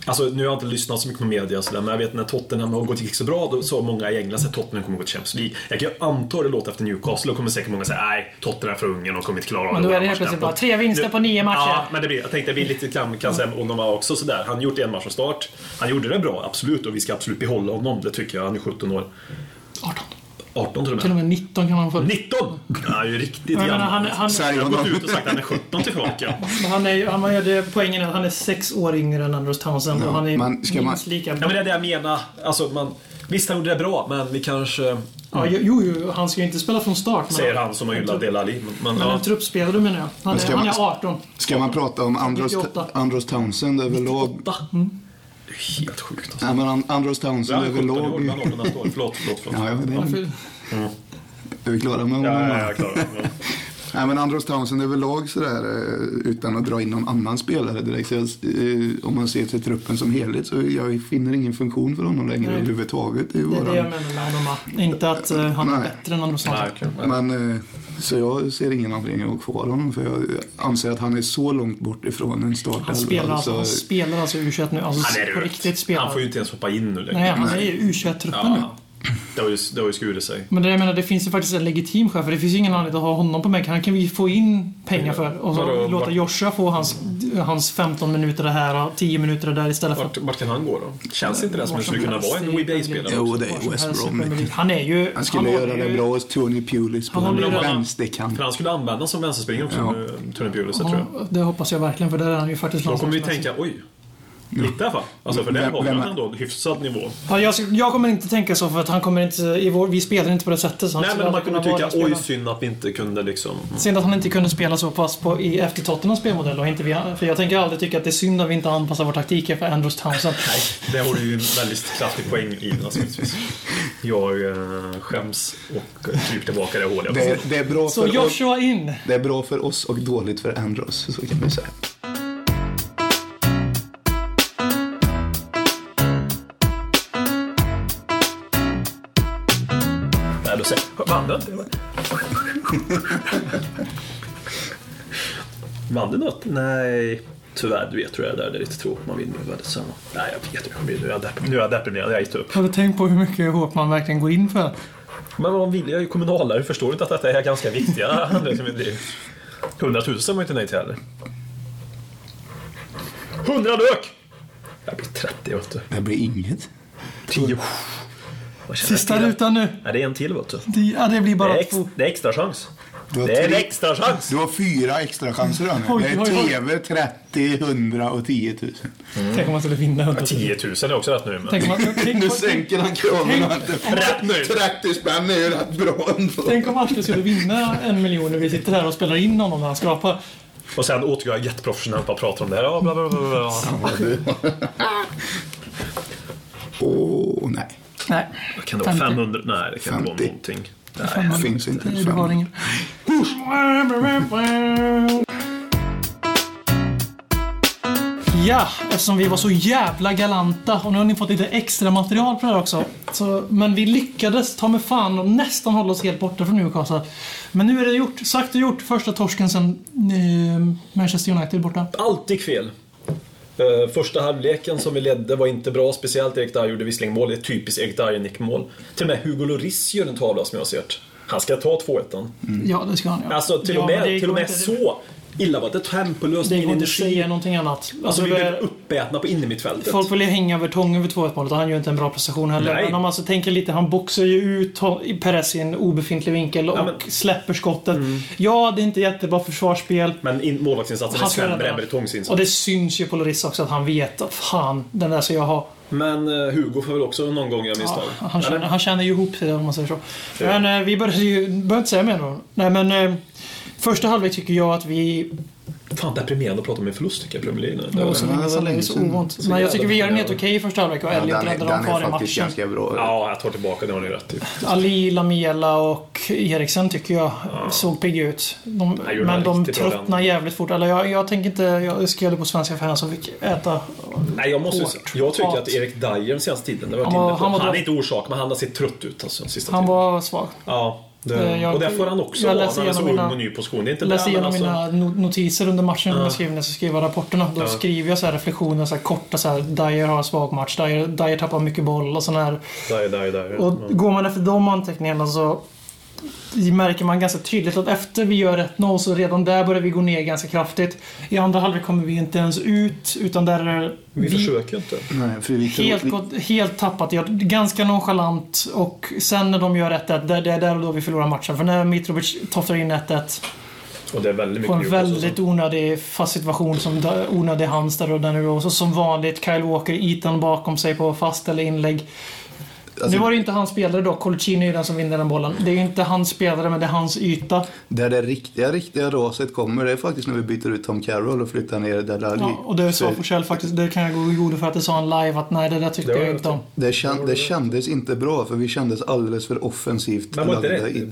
Speaker 3: Alltså nu har jag inte lyssnat så mycket på media och sådär, men jag vet när Tottenham har gått gick så bra då sa många i England att Tottenham kommer gå till Champions League. Jag kan ju anta hur det låter efter Newcastle, då kommer säkert många säga nej, Tottenham är för unga, de kommer inte klara av
Speaker 2: Men då
Speaker 3: det
Speaker 2: är det helt plötsligt bara tre vinster på nio matcher.
Speaker 3: Ja, men det blir, jag tänkte det blir lite grann kan säga om honom också sådär. Han har gjort en match från start. Han gjorde det bra, absolut, och vi ska absolut behålla honom. Det tycker jag. Han är 17 år.
Speaker 2: 18.
Speaker 3: 18 till och
Speaker 2: Till och
Speaker 3: med.
Speaker 2: med 19 kan han få.
Speaker 3: 19! Han är ju riktigt
Speaker 2: Jag
Speaker 3: gammal.
Speaker 2: menar, han, han,
Speaker 4: Sälj
Speaker 3: Jag har gått
Speaker 4: honom.
Speaker 3: ut och sagt att han är 17 till Kroatien.
Speaker 2: han, är, ju- han hade poängen är att han är sex år yngre än Andros Townsend och han är
Speaker 4: man- ska man-
Speaker 2: minst lika
Speaker 3: Ja,
Speaker 2: bra.
Speaker 3: men det är det jag menar. Alltså, man, visst, han gjorde det bra, men vi kanske... eh,
Speaker 2: Ja, jo, jo, han ska ju inte spela från start. Men,
Speaker 3: Säger han som har hyllat Del Ali. Men, men,
Speaker 2: men
Speaker 3: ja.
Speaker 2: en truppspelare menar jag. Han
Speaker 4: ska
Speaker 2: är, han
Speaker 4: man-
Speaker 2: är 18.
Speaker 4: Ska man prata om Andros,
Speaker 2: 98.
Speaker 4: Andros Townsend överlag?
Speaker 3: Va? Det är helt sjukt alltså.
Speaker 4: Nej, men An- Andros
Speaker 3: Jag
Speaker 4: Townsend
Speaker 3: är 17 år, men
Speaker 4: överlag.
Speaker 3: 18 nästa år. Förlåt, förlåt, förlåt.
Speaker 4: Ja, ja, det är,
Speaker 2: Varför-
Speaker 4: är vi klara med honom?
Speaker 3: Ja, ja, jag klarar det. Men-
Speaker 4: Nej, men Andros Townsend överlag sådär, eh, utan att dra in någon annan spelare direkt. Så, eh, om man ser till truppen som helhet så jag finner ingen funktion för honom längre
Speaker 2: Nej.
Speaker 4: överhuvudtaget. Det är
Speaker 2: Det är det jag
Speaker 4: våran...
Speaker 2: menar med Onoma. Inte att eh, han är
Speaker 4: Nej.
Speaker 2: bättre än Andros
Speaker 3: Nej,
Speaker 2: Townsend.
Speaker 3: okej.
Speaker 4: men, eh, så jag ser ingen anledning att ha kvar honom för jag anser att han är så långt bort ifrån en startelva.
Speaker 2: Han spelar alltså,
Speaker 4: så-
Speaker 2: han spelar alltså U21 nu.
Speaker 3: Han
Speaker 2: Alltså
Speaker 3: är
Speaker 2: på
Speaker 3: rött.
Speaker 2: riktigt
Speaker 3: Han får
Speaker 2: spelar.
Speaker 3: ju inte ens hoppa in nu längre.
Speaker 2: Nej, Mm. han är ju U21-truppen nu.
Speaker 3: Ja. Det har ju, det har ju skurit sig.
Speaker 2: Men det jag menar, det finns ju faktiskt en legitim chef. För det finns ju ingen anledning att ha honom på bänken. Han kan vi få in pengar för. Och så
Speaker 3: Vadå,
Speaker 2: låta
Speaker 3: vart-
Speaker 2: Joshua få hans, hans 15 minuter det här och 10 minuter det där istället för...
Speaker 3: Vart, vart kan han gå då? Känns inte det som
Speaker 2: Var
Speaker 3: det
Speaker 2: som
Speaker 3: skulle kunna
Speaker 2: helst
Speaker 3: vara en
Speaker 2: i-
Speaker 3: WBA-spelare?
Speaker 4: Jo, det är
Speaker 2: var som
Speaker 4: West
Speaker 2: helst i
Speaker 4: Brom.
Speaker 2: Premier League. Han är ju...
Speaker 4: Han skulle
Speaker 2: håller
Speaker 4: göra det
Speaker 2: ju-
Speaker 4: bra hos Tony Pulis på
Speaker 2: Han håller ju-
Speaker 4: en vänsterkant.
Speaker 3: För han skulle användas som vänsterspringare också,
Speaker 4: Ja.
Speaker 3: nu, Tony Pulis, tror jag.
Speaker 2: Ja, det hoppas jag verkligen för där är han ju faktiskt
Speaker 3: Då kommer vi
Speaker 2: landslagsmässig.
Speaker 3: tänka, oj. Lite i alla fall. Alltså, för där
Speaker 4: Vem-
Speaker 3: har vi
Speaker 4: vem-
Speaker 3: ändå en hyfsad nivå.
Speaker 2: Ja, jag, ska- jag kommer inte tänka så för att han kommer inte... I vår, vi spelar inte på det sättet. Så han
Speaker 3: Nej,
Speaker 2: skulle
Speaker 3: men man
Speaker 2: aldrig
Speaker 3: kunde
Speaker 2: kunna
Speaker 3: tycka,
Speaker 2: vara den
Speaker 3: oj
Speaker 2: spelaren.
Speaker 3: synd att vi inte kunde liksom...
Speaker 2: Synd att han inte kunde spela så pass på, i, efter Tottenhams spelmodell. Och inte vi, för jag tänker aldrig tycka att det är synd att vi inte anpassar vår taktik efter Andrews Townsend.
Speaker 3: Nej, det har du ju en väldigt kraftig poäng i alltså. naturligtvis. Jag eh, skäms och eh, kryper tillbaka i det hål jag
Speaker 4: Det är, det, är bra
Speaker 2: Så
Speaker 4: för oss,
Speaker 2: Joshua in!
Speaker 4: det är bra för oss och dåligt för Andros, så kan vi säga.
Speaker 3: Nej, då säger Vann du inte? Vann du något? Nej, tyvärr. Du vet hur det är där. Det är lite tråkigt. Man vinner ju väldigt sällan. Nej, jag vet. Jag kommer bli- Nu är jag depp- nu är jag deprimerad. Jag gick upp.
Speaker 2: Har du tänkt på hur mycket hårt man verkligen går in för?
Speaker 3: Men vad vill jag? är ju kommunalare. Förstår du inte att detta är ganska viktiga handlingar som vi Hundratusen var ju inte nej till heller. Hundra lök! Jag blir 30 vet du.
Speaker 4: Det blir inget.
Speaker 3: Tio. Vad känner jag
Speaker 2: Sista
Speaker 3: till?
Speaker 2: rutan nu.
Speaker 3: Nej, det är en till vet du.
Speaker 2: Det, ja, det blir
Speaker 3: Det
Speaker 2: bara
Speaker 4: Mm.
Speaker 3: är, ex,
Speaker 2: två.
Speaker 3: det är extra chans.
Speaker 4: Du har,
Speaker 6: Det är en
Speaker 4: tre-
Speaker 6: extra chans.
Speaker 4: du har fyra extra chanser här nu.
Speaker 2: Oj,
Speaker 4: Det är
Speaker 2: oj, oj.
Speaker 4: TV, 30, 100 och 10 000.
Speaker 2: Tänk om man skulle vinna 100 000.
Speaker 6: 10 000 är också rätt nu. Men...
Speaker 2: Tänk om man,
Speaker 4: typ. Nu
Speaker 2: tänk,
Speaker 4: sänker han kraven.
Speaker 6: Rätt nu.
Speaker 4: 30 spänn är ju rätt bra ändå.
Speaker 2: tänk om Arsle skulle vinna en miljon när vi sitter här och spelar in honom när han skrapar.
Speaker 6: Och sen återgår jag jätteprofessionellt och pratar om det här. Ja, bla, bla, bla, bla.
Speaker 4: Åh, nej.
Speaker 2: Nej,
Speaker 6: Kan det vara
Speaker 2: 50?
Speaker 6: 500? Nej, det kan inte vara
Speaker 4: 50.
Speaker 6: någonting.
Speaker 4: Det finns inte ens
Speaker 2: du har
Speaker 4: fem.
Speaker 2: ingen. Ja, eftersom vi var så jävla galanta och nu har ni fått lite extra material på det här också. Så, men vi lyckades ta med fan och nästan hålla oss helt borta från Newcastle. Men nu är det gjort. Sagt och gjort. Första torsken sen eh, Manchester United borta.
Speaker 3: Alltid fel. Eh, Första halvleken som vi ledde var inte bra, speciellt Erik Dyer gjorde visserligen mål. Det är ett typiskt Erik Dyer nickmål. Till och med Hugo Lloris gör en tavla som jag har sett. Han ska ta 2-1.
Speaker 4: Mm.
Speaker 2: Ja, det ska han göra.
Speaker 3: Alltså till
Speaker 2: ja,
Speaker 3: och
Speaker 2: men
Speaker 3: med,
Speaker 2: det
Speaker 3: till och
Speaker 2: går
Speaker 3: med
Speaker 2: inte-
Speaker 3: så illa var det. Tempolöst,
Speaker 2: Det
Speaker 3: ingen
Speaker 2: går inte att
Speaker 3: energi.
Speaker 2: säga någonting annat.
Speaker 3: Alltså vi
Speaker 2: det
Speaker 3: blev
Speaker 2: är-
Speaker 3: uppätna på innermittfältet.
Speaker 2: Folk vill ju hänga Vertonghen över 2-1 målet och han gör inte en bra prestation heller.
Speaker 3: Nej.
Speaker 2: Men om man alltså tänker lite, han boxar ju ut ho- i Perez i en obefintlig vinkel och
Speaker 3: Ja, men- Mm.
Speaker 2: släpper skottet. Ja, det är inte jättebra försvarsspel.
Speaker 3: Men in, målvaktsinsatsen är
Speaker 2: Han ska
Speaker 3: sämre
Speaker 2: rädda.
Speaker 3: än Bretongs insats.
Speaker 2: Och det syns ju på Lloris också att han vet att fan, den där ska jag ha.
Speaker 3: Men eh, Hugo får väl också någon gång göra misstag.
Speaker 2: Han
Speaker 3: Eller?
Speaker 2: känner, han känner ju ihop sig där, om man säger så.
Speaker 3: Ja.
Speaker 2: Men eh, vi började ju, behöver inte säga mer då. Nej men, eh, första halvlek tycker jag att vi
Speaker 3: Fan deprimerande att prata om en förlust tycker jag i Premier League nu.
Speaker 2: Det var
Speaker 4: men det är så
Speaker 2: så, det är
Speaker 4: länge
Speaker 2: så
Speaker 4: sedan.
Speaker 2: ovant. Men jag tycker vi gör en helt okej första halvlek och
Speaker 4: Ja,
Speaker 2: Elliot
Speaker 4: den är,
Speaker 2: räddar dem
Speaker 4: den är
Speaker 2: kvar i
Speaker 4: faktiskt
Speaker 2: matchen.
Speaker 4: ganska bra.
Speaker 3: Ja, jag tar tillbaka det har ni rätt i.
Speaker 2: Ali, Lamiela och Eriksen tycker jag såg pigga ut. De,
Speaker 3: Ja, gjorde
Speaker 2: men
Speaker 3: han
Speaker 2: de
Speaker 3: riktigt bra
Speaker 2: tröttnar jävligt fort. Eller jag, jag tänker inte, jag skrev det på svenska för henne som fick äta.
Speaker 3: Nej, jag, måste, ju
Speaker 2: Hårt.
Speaker 3: säga- jag tycker
Speaker 2: Hat.
Speaker 3: att Erik Dyer den senaste tiden, det har jag
Speaker 2: Han var-
Speaker 3: varit inne på.
Speaker 2: han var
Speaker 3: Han, är
Speaker 2: då-
Speaker 3: inte orsak, men han har sett trött ut alltså, sista
Speaker 2: Han
Speaker 3: tiden.
Speaker 2: var svag.
Speaker 3: Ja,
Speaker 2: Eh,
Speaker 3: det,
Speaker 2: jag-
Speaker 3: och där får han också
Speaker 2: jag
Speaker 3: vara när
Speaker 2: läser
Speaker 3: han är så
Speaker 2: igenom
Speaker 3: ung
Speaker 2: mina-
Speaker 3: och ny på skolan. Det är inte
Speaker 2: Jag läste
Speaker 3: det, men alltså-
Speaker 2: igenom mina no- notiser under matchen när jag skrev, när jag skrev rapporterna. Då
Speaker 3: Ja.
Speaker 2: skriver jag så här reflektioner, så här korta så här. Dyer har en svag match, Dyer, Dyer tappar mycket boll och sån här.
Speaker 3: Dyer, Dyer, Dyer.
Speaker 2: Och
Speaker 3: Ja.
Speaker 2: går man efter de anteckningarna så märker man ganska tydligt att efter vi gör 1-0 så redan där börjar vi gå ner ganska kraftigt. I andra halvlek kommer vi inte ens ut utan där är
Speaker 3: Vi
Speaker 2: vi
Speaker 3: försöker inte.
Speaker 4: Nej, för vi tror-
Speaker 2: helt, gått, helt tappat. Jag, ganska nonchalant och sen när de gör 1-1, det det är där och då vi förlorar matchen. För när Mitrovic tofsar in 1-1
Speaker 3: Och det är väldigt
Speaker 2: på
Speaker 3: mycket alltså.
Speaker 2: en
Speaker 3: Newcastle som-
Speaker 2: väldigt onödig fast situation som dö- onödig hands där och där nu. Och så som vanligt Kyle Walker, Ethan bakom sig på fast eller inlägg.
Speaker 4: Alltså-
Speaker 2: nu var det ju inte hans spelare då. Colicini är ju den som vinner den bollen. Det är ju inte hans spelare, men det är hans yta.
Speaker 4: Där det riktiga, riktiga raset kommer, det är faktiskt när vi byter ut Tom Carroll och flyttar ner Dele Alli.
Speaker 2: Ja, och det sa
Speaker 4: Så
Speaker 2: Forsell faktiskt, det kan jag gå i godo för att det sa han live att nej, det där tyckte
Speaker 3: Det var
Speaker 2: jag
Speaker 3: rätt.
Speaker 2: inte om.
Speaker 4: det, kän, det kändes inte bra, för vi kändes alldeles för offensivt
Speaker 3: Men var inte
Speaker 4: lagda
Speaker 3: det-
Speaker 4: i-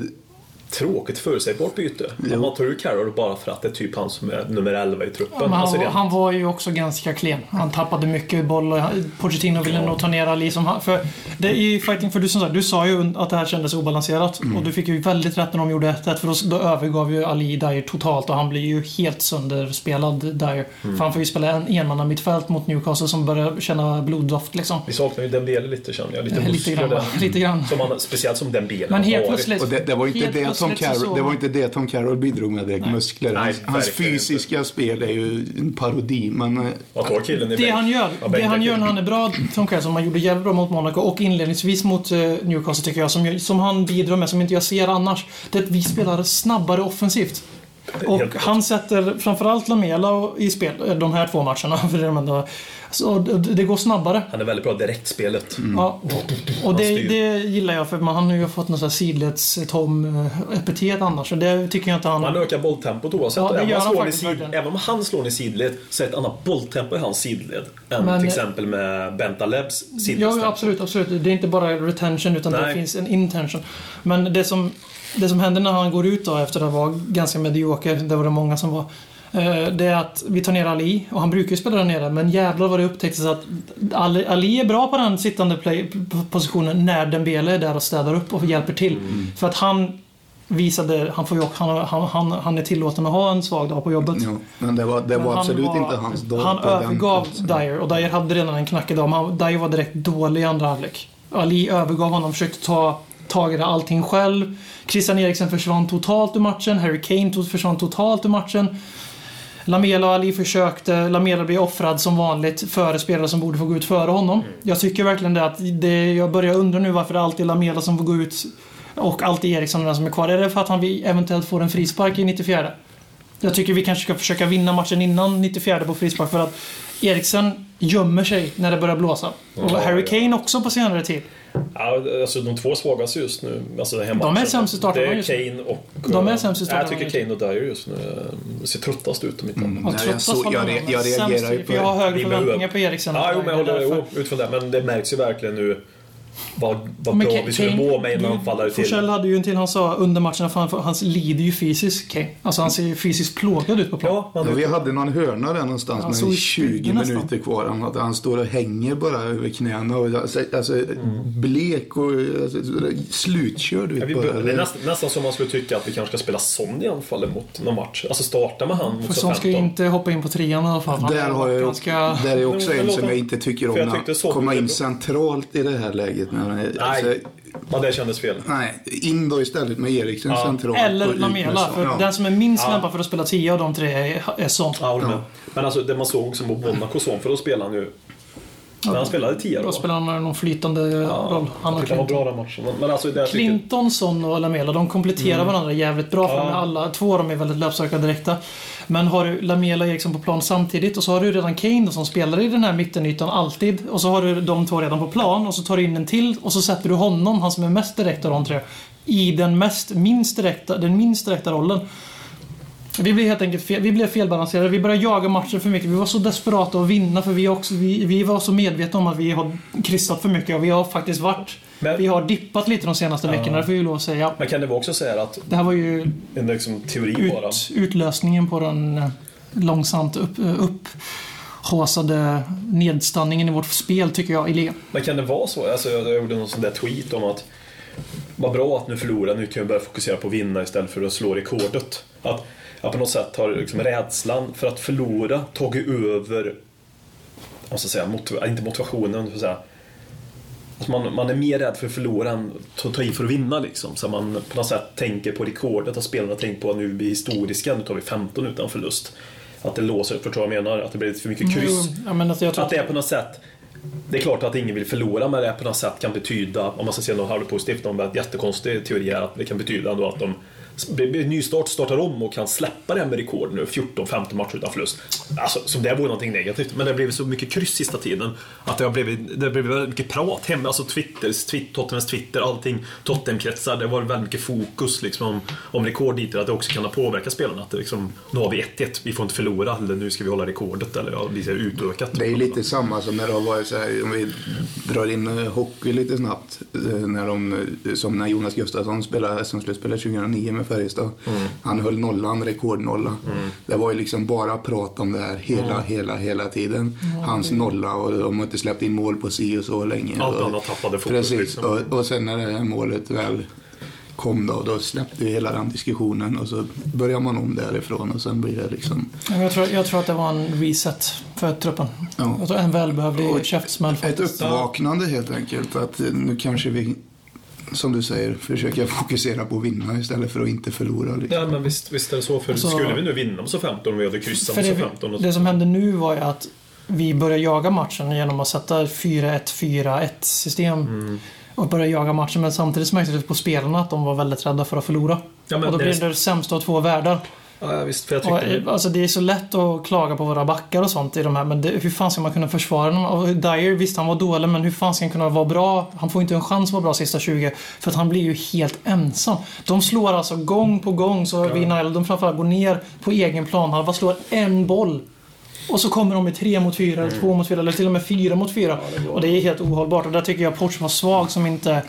Speaker 3: Tråkigt förutsägbart byte.
Speaker 4: Jo.
Speaker 3: Om man tar ur Carroll bara för att det är typ han som är nummer 11 i truppen.
Speaker 2: Men han,
Speaker 3: alltså, det,
Speaker 2: var, han var ju också ganska klen. Han tappade mycket boll och han- Pochettino ville nog ta ner Ali som han, för det är ju fighting för du som sagt, du sa ju att det här kändes obalanserat
Speaker 3: Mm.
Speaker 2: och du fick ju väldigt rätt när de gjorde 1 för då, då övergav ju Ali Dyer totalt och han blir ju helt sönderspelad Dyer.
Speaker 3: Mm.
Speaker 2: För han får ju spela en enmanna mittfält mot Newcastle som börjar känna bloddoft liksom.
Speaker 3: Vi saknar ju Dembele lite känner jag. Lite
Speaker 2: Eh, Lite
Speaker 3: muskler
Speaker 2: grann,
Speaker 3: där.
Speaker 2: lite grann.
Speaker 3: Som han, speciellt som Dembele
Speaker 2: Men helt
Speaker 3: har varit.
Speaker 2: plötsligt.
Speaker 4: Och det, det, var inte
Speaker 2: helt
Speaker 4: det, Tom
Speaker 2: plötsligt så
Speaker 4: Carroll,
Speaker 2: såg
Speaker 4: det var
Speaker 2: man-
Speaker 4: inte det Tom Carroll bidrog med direkt, muskler.
Speaker 3: Nej,
Speaker 4: Hans, hans
Speaker 3: verkligen
Speaker 4: fysiska spel är ju en parodi, men eh,
Speaker 3: Att ha killen i
Speaker 2: Det
Speaker 3: bänk-
Speaker 2: han gör,
Speaker 3: Ja,
Speaker 2: det
Speaker 3: bänk-
Speaker 2: han gör när han är bra, Tom Carroll, som han gjorde jävligt bra mot Monaco och inledningsvis mot eh, Newcastle tycker jag, som, som han bidrar med, som inte jag ser annars, det är att vi spelar snabbare offensivt. Och
Speaker 3: Helt klart.
Speaker 2: han sätter framförallt Lamela och- i spel, eh, de här två matcherna. För det, är de Alltså, ändå, så det det går snabbare.
Speaker 3: Han är väldigt bra i direktspelet.
Speaker 2: Ja. Och det,
Speaker 3: Mm. styr.
Speaker 2: det gillar jag, för man, han har ju fått något sånt här eh, sidleds-Tom-epitet annars. Och det tycker jag inte han...
Speaker 3: Han ökar bolltempot oavsett.
Speaker 2: Mm. Ja, det
Speaker 3: även,
Speaker 2: gör han
Speaker 3: om slår i
Speaker 2: faktiskt
Speaker 3: sid,
Speaker 2: verkligen.
Speaker 3: även om han slår i sidled så är det ett annat bolltempo i hans sidled. Än
Speaker 2: Men- eh,
Speaker 3: till exempel med Bentalebs sidledstempo.
Speaker 2: Ja, absolut, absolut. Det är inte bara retention utan det
Speaker 3: Nej.
Speaker 2: finns en intention. Men det som, det som händer när han går ut då efter att vara ganska medioker, det var det många som var. eh, Det är att vi tar ner Ali och han brukar ju spela där nere men jävlar vad det upptäcktes att Ali, Ali är bra på den sittande play, positionen när Dembele är där och städar upp och hjälper till. För att han visade, han, får ju, han, han, han, han är tillåten att ha en svag dag på jobbet.
Speaker 4: ja, men det var, det
Speaker 2: Men
Speaker 4: var
Speaker 2: han
Speaker 4: absolut
Speaker 2: var-
Speaker 4: inte hans dag.
Speaker 2: Han
Speaker 4: på den
Speaker 2: övergav
Speaker 4: platsen.
Speaker 2: Dyer och Dyer hade redan en knackig dag. men han- Dyer var direkt dålig i andra halvlek. Ali övergav honom, försökte ta tag i det allting själv. Christian Eriksen försvann totalt ur matchen. Harry Kane to- försvann totalt ur matchen. Lamela och Ali försökte. Lamela blev offrad som vanligt före spelare som borde få gå ut före honom. Jag tycker verkligen det att det, jag börjar undra nu varför det alltid är Lamela som får gå ut Och alltid Eriksson den som är kvar. Är det för att han vi- eventuellt får en frispark i 94? Jag tycker vi kanske ska försöka vinna matchen innan 94 på frispark för att Eriksen gömmer sig när det börjar blåsa. Och
Speaker 3: Ja,
Speaker 2: Harry
Speaker 3: ja.
Speaker 2: Kane också på senare tid.
Speaker 3: Ja, alltså de två svagaste just nu. Alltså den här
Speaker 2: De är
Speaker 3: matchen.
Speaker 2: sämst i starten
Speaker 3: Det är
Speaker 2: just nu.
Speaker 3: Kane och... eh,
Speaker 2: De är sämst i starten
Speaker 3: Jag
Speaker 2: just nu.
Speaker 3: tycker Kane och Dyer just nu eh, ser tröttast ut i mitten. Mm.
Speaker 2: Och
Speaker 4: Nej, jag
Speaker 2: tröttast
Speaker 4: såg-
Speaker 2: håller
Speaker 4: jag
Speaker 2: han
Speaker 4: re-
Speaker 2: med.
Speaker 4: jag
Speaker 2: Sämst
Speaker 4: reagerar ju
Speaker 2: för Jag har
Speaker 4: på-
Speaker 2: högre
Speaker 3: Vi behöver-
Speaker 2: förväntningar på Eriksen.
Speaker 3: Ja, jo, men jag
Speaker 2: Det är
Speaker 3: håller
Speaker 2: därför.
Speaker 3: jo, utifrån det. Men det märks ju verkligen nu vad, vad
Speaker 2: Men
Speaker 3: bra
Speaker 2: Kane-
Speaker 3: vi skulle må med en
Speaker 2: Kane-
Speaker 3: anfallare
Speaker 2: Forsell
Speaker 3: till.
Speaker 2: hade ju en till han sa under matchen att han, han lider ju fysiskt Kane. Alltså han ser ju fysiskt plågad ut på plan.
Speaker 3: Ja,
Speaker 4: Ja,
Speaker 3: han,
Speaker 4: vi hade någon hörna där någonstans
Speaker 2: Ja,
Speaker 4: med
Speaker 2: så i
Speaker 4: 20
Speaker 2: springen nästan.
Speaker 4: minuter kvar. Han, hade- han står och hänger bara över knäna. Och, alltså, alltså, Blek och alltså, slutkörd
Speaker 3: ja,
Speaker 4: ut
Speaker 3: vi,
Speaker 4: bara.
Speaker 3: bör- det är nästan, nästan som man skulle tycka att vi kanske ska spela Son i anfallet mot någon match. Alltså starta med han
Speaker 2: För
Speaker 3: mot
Speaker 2: som ska ju
Speaker 3: 15.
Speaker 2: inte hoppa in på trean i alla fall. Han
Speaker 4: Där, har jag,
Speaker 2: ganska...
Speaker 4: där är också
Speaker 3: Men- men
Speaker 4: en
Speaker 3: låt
Speaker 4: som
Speaker 3: han-
Speaker 4: jag inte tycker om.
Speaker 3: för jag
Speaker 4: när
Speaker 3: tyckte
Speaker 4: han
Speaker 3: så-
Speaker 4: Komma in centralt i det här läget. När han, är- alltså,
Speaker 3: Nej, ja, det kändes fel.
Speaker 4: nej, in då istället med Eriksen centralt. och
Speaker 2: Eller
Speaker 4: ut med
Speaker 2: Lamela.
Speaker 4: Son.
Speaker 2: För
Speaker 4: Ja.
Speaker 2: den som är minst lämpad för att spela 10 av de tre är, är Son.
Speaker 3: Ja, håller med. Men alltså det man såg som mot Monaco Son, för då spelade han ju... När han spelade 10
Speaker 2: Då
Speaker 3: då.
Speaker 2: spelar han någon flytande roll. Han och
Speaker 3: Titta vad
Speaker 2: Clinton.
Speaker 3: bra den matchen var. Men alltså, det jag tycker-
Speaker 2: Clinton, Son och Lamela, de kompletterar varandra jävligt bra. För
Speaker 3: Mm. Ja.
Speaker 2: de är alla, två av dem är väldigt löpsökare direkta. Men har du Lamela och Eriksson på plan samtidigt och så har du redan Kane då, som spelar i den här mittenytan alltid. Och så har du de två redan på plan och så tar du in en till och så sätter du honom, han som är mest direkt av de tre, i den, mest, minst direkta, den minst direkta rollen. Vi blev helt enkelt fel, vi blev felbalanserade. Vi började jaga matchen för mycket. Vi var så desperata att vinna för vi, är också, vi, vi var så medvetna om att vi har kryssat för mycket och vi har faktiskt varit...
Speaker 3: Men-
Speaker 2: vi har dippat lite de senaste veckorna, det får vi ju lov att säga.
Speaker 3: Men kan det vara också så här att
Speaker 2: Det här var ju
Speaker 3: en liksom, teori bara?
Speaker 2: ut, utlösningen på den eh, långsamt upp, eh, upphaussade nedstanningen i vårt spel, tycker jag, i ligan.
Speaker 3: Men kan det vara så? Alltså, jag jag gjorde någon sån där tweet om att vad bra att nu förlorar, nu kan vi börja fokusera på att vinna istället för att slå rekordet. Att, att på något sätt har liksom rädslan för att förlora tagit över, vad ska jag säga, motiv- inte motivationen, så att säga. Att man, man är mer rädd för att förlora än att ta i för att vinna liksom. Så man på något sätt tänker på rekordet, att spelarna tänker på att nu är vi historiska, nu tar vi 15 utan förlust. Att det låser, förstår du vad jag menar? Att det blir lite för
Speaker 2: Mm.
Speaker 3: mycket kryss.
Speaker 2: Ja, men alltså, jag tror
Speaker 3: Att det är på något sätt det är klart att ingen vill förlora men det är på något sätt kan betyda, om man ska säga något halvpositivt, om det är en jättekonstig teori är att det kan betyda ändå att de det blir nystart, startar om och kan släppa det här med rekord nu, 14-15 matcher utan förlust. Alltså, som det vore någonting negativt. Men det har blivit så mycket kryss sista tiden. Att det har blivit, det har blivit väldigt mycket prat hemma, alltså Twitters, twitt, Tottenhams Twitter, allting. Tottenhamkretsar, det har varit väldigt mycket fokus liksom, om, om rekord dit, att det också kan ha påverkat spelarna. Att det liksom, nu har vi 1-1, vi får inte förlora, eller nu ska vi hålla rekordet, eller ja, lite utökat.
Speaker 4: Det är ju lite samma som när det har varit så här, om vi drar in eh, hockey lite snabbt, eh, när de, eh, som när Jonas Gustafsson spelade SM-slutspelet 2009 med Färjestad.
Speaker 3: Mm.
Speaker 4: Han höll nollan, rekordnolla. Det var ju liksom bara prat om det här hela,
Speaker 3: Mm.
Speaker 4: hela, hela tiden. Hans nolla och de har inte släppt in mål på si och så länge.
Speaker 3: Allt
Speaker 4: Och-
Speaker 3: annat tappade fokus,
Speaker 4: Precis,
Speaker 3: liksom.
Speaker 4: och, och sen när det här målet väl kom då, då släppte vi hela den diskussionen och så börjar man om därifrån och sen blir det liksom
Speaker 2: Ja, men Jag tror, jag tror att det var en reset för truppen.
Speaker 4: Ja.
Speaker 2: Jag tror en välbehövlig
Speaker 4: Och-
Speaker 2: käftsmäll
Speaker 4: Ett
Speaker 2: faktiskt.
Speaker 4: uppvaknande helt enkelt. Att eh, nu kanske vi, som du säger, försöker fokusera på att vinna istället för att inte förlora. Liksom.
Speaker 3: Ja, men visst, visst är det så. För
Speaker 2: Alltså-
Speaker 3: skulle vi nu vinna med så 15 och vi hade kryssat
Speaker 2: För
Speaker 3: med så
Speaker 2: det,
Speaker 3: 15 och
Speaker 2: det som hände nu var ju att vi började jaga matchen genom att sätta 4-1-4-1 system.
Speaker 3: Mm.
Speaker 2: Och började jaga matchen men samtidigt så märktes det på spelarna att de var väldigt rädda för att förlora.
Speaker 3: Ja, men
Speaker 2: och då
Speaker 3: det-
Speaker 2: blir det sämsta av två världar.
Speaker 3: Ja, ja, visst, för jag
Speaker 2: Och,
Speaker 3: tyckte...
Speaker 2: eh, alltså, det är så lätt att klaga på våra backar och sånt i de här, men det, hur fan ska man kunna försvara dem? Och Dyer, visst han var dålig, men hur fan ska han kunna vara bra? Han får inte en chans att vara bra sista 20, för att han blir ju helt ensam. De slår alltså gång på gång, så vi Nile, de framförallt går ner på egen planhalva, slår en boll. Och så kommer de med tre mot fyra,
Speaker 3: Mm.
Speaker 2: eller två mot fyra, eller till och med fyra mot fyra. och det är helt ohållbart. Och där tycker jag Porch var svag som inte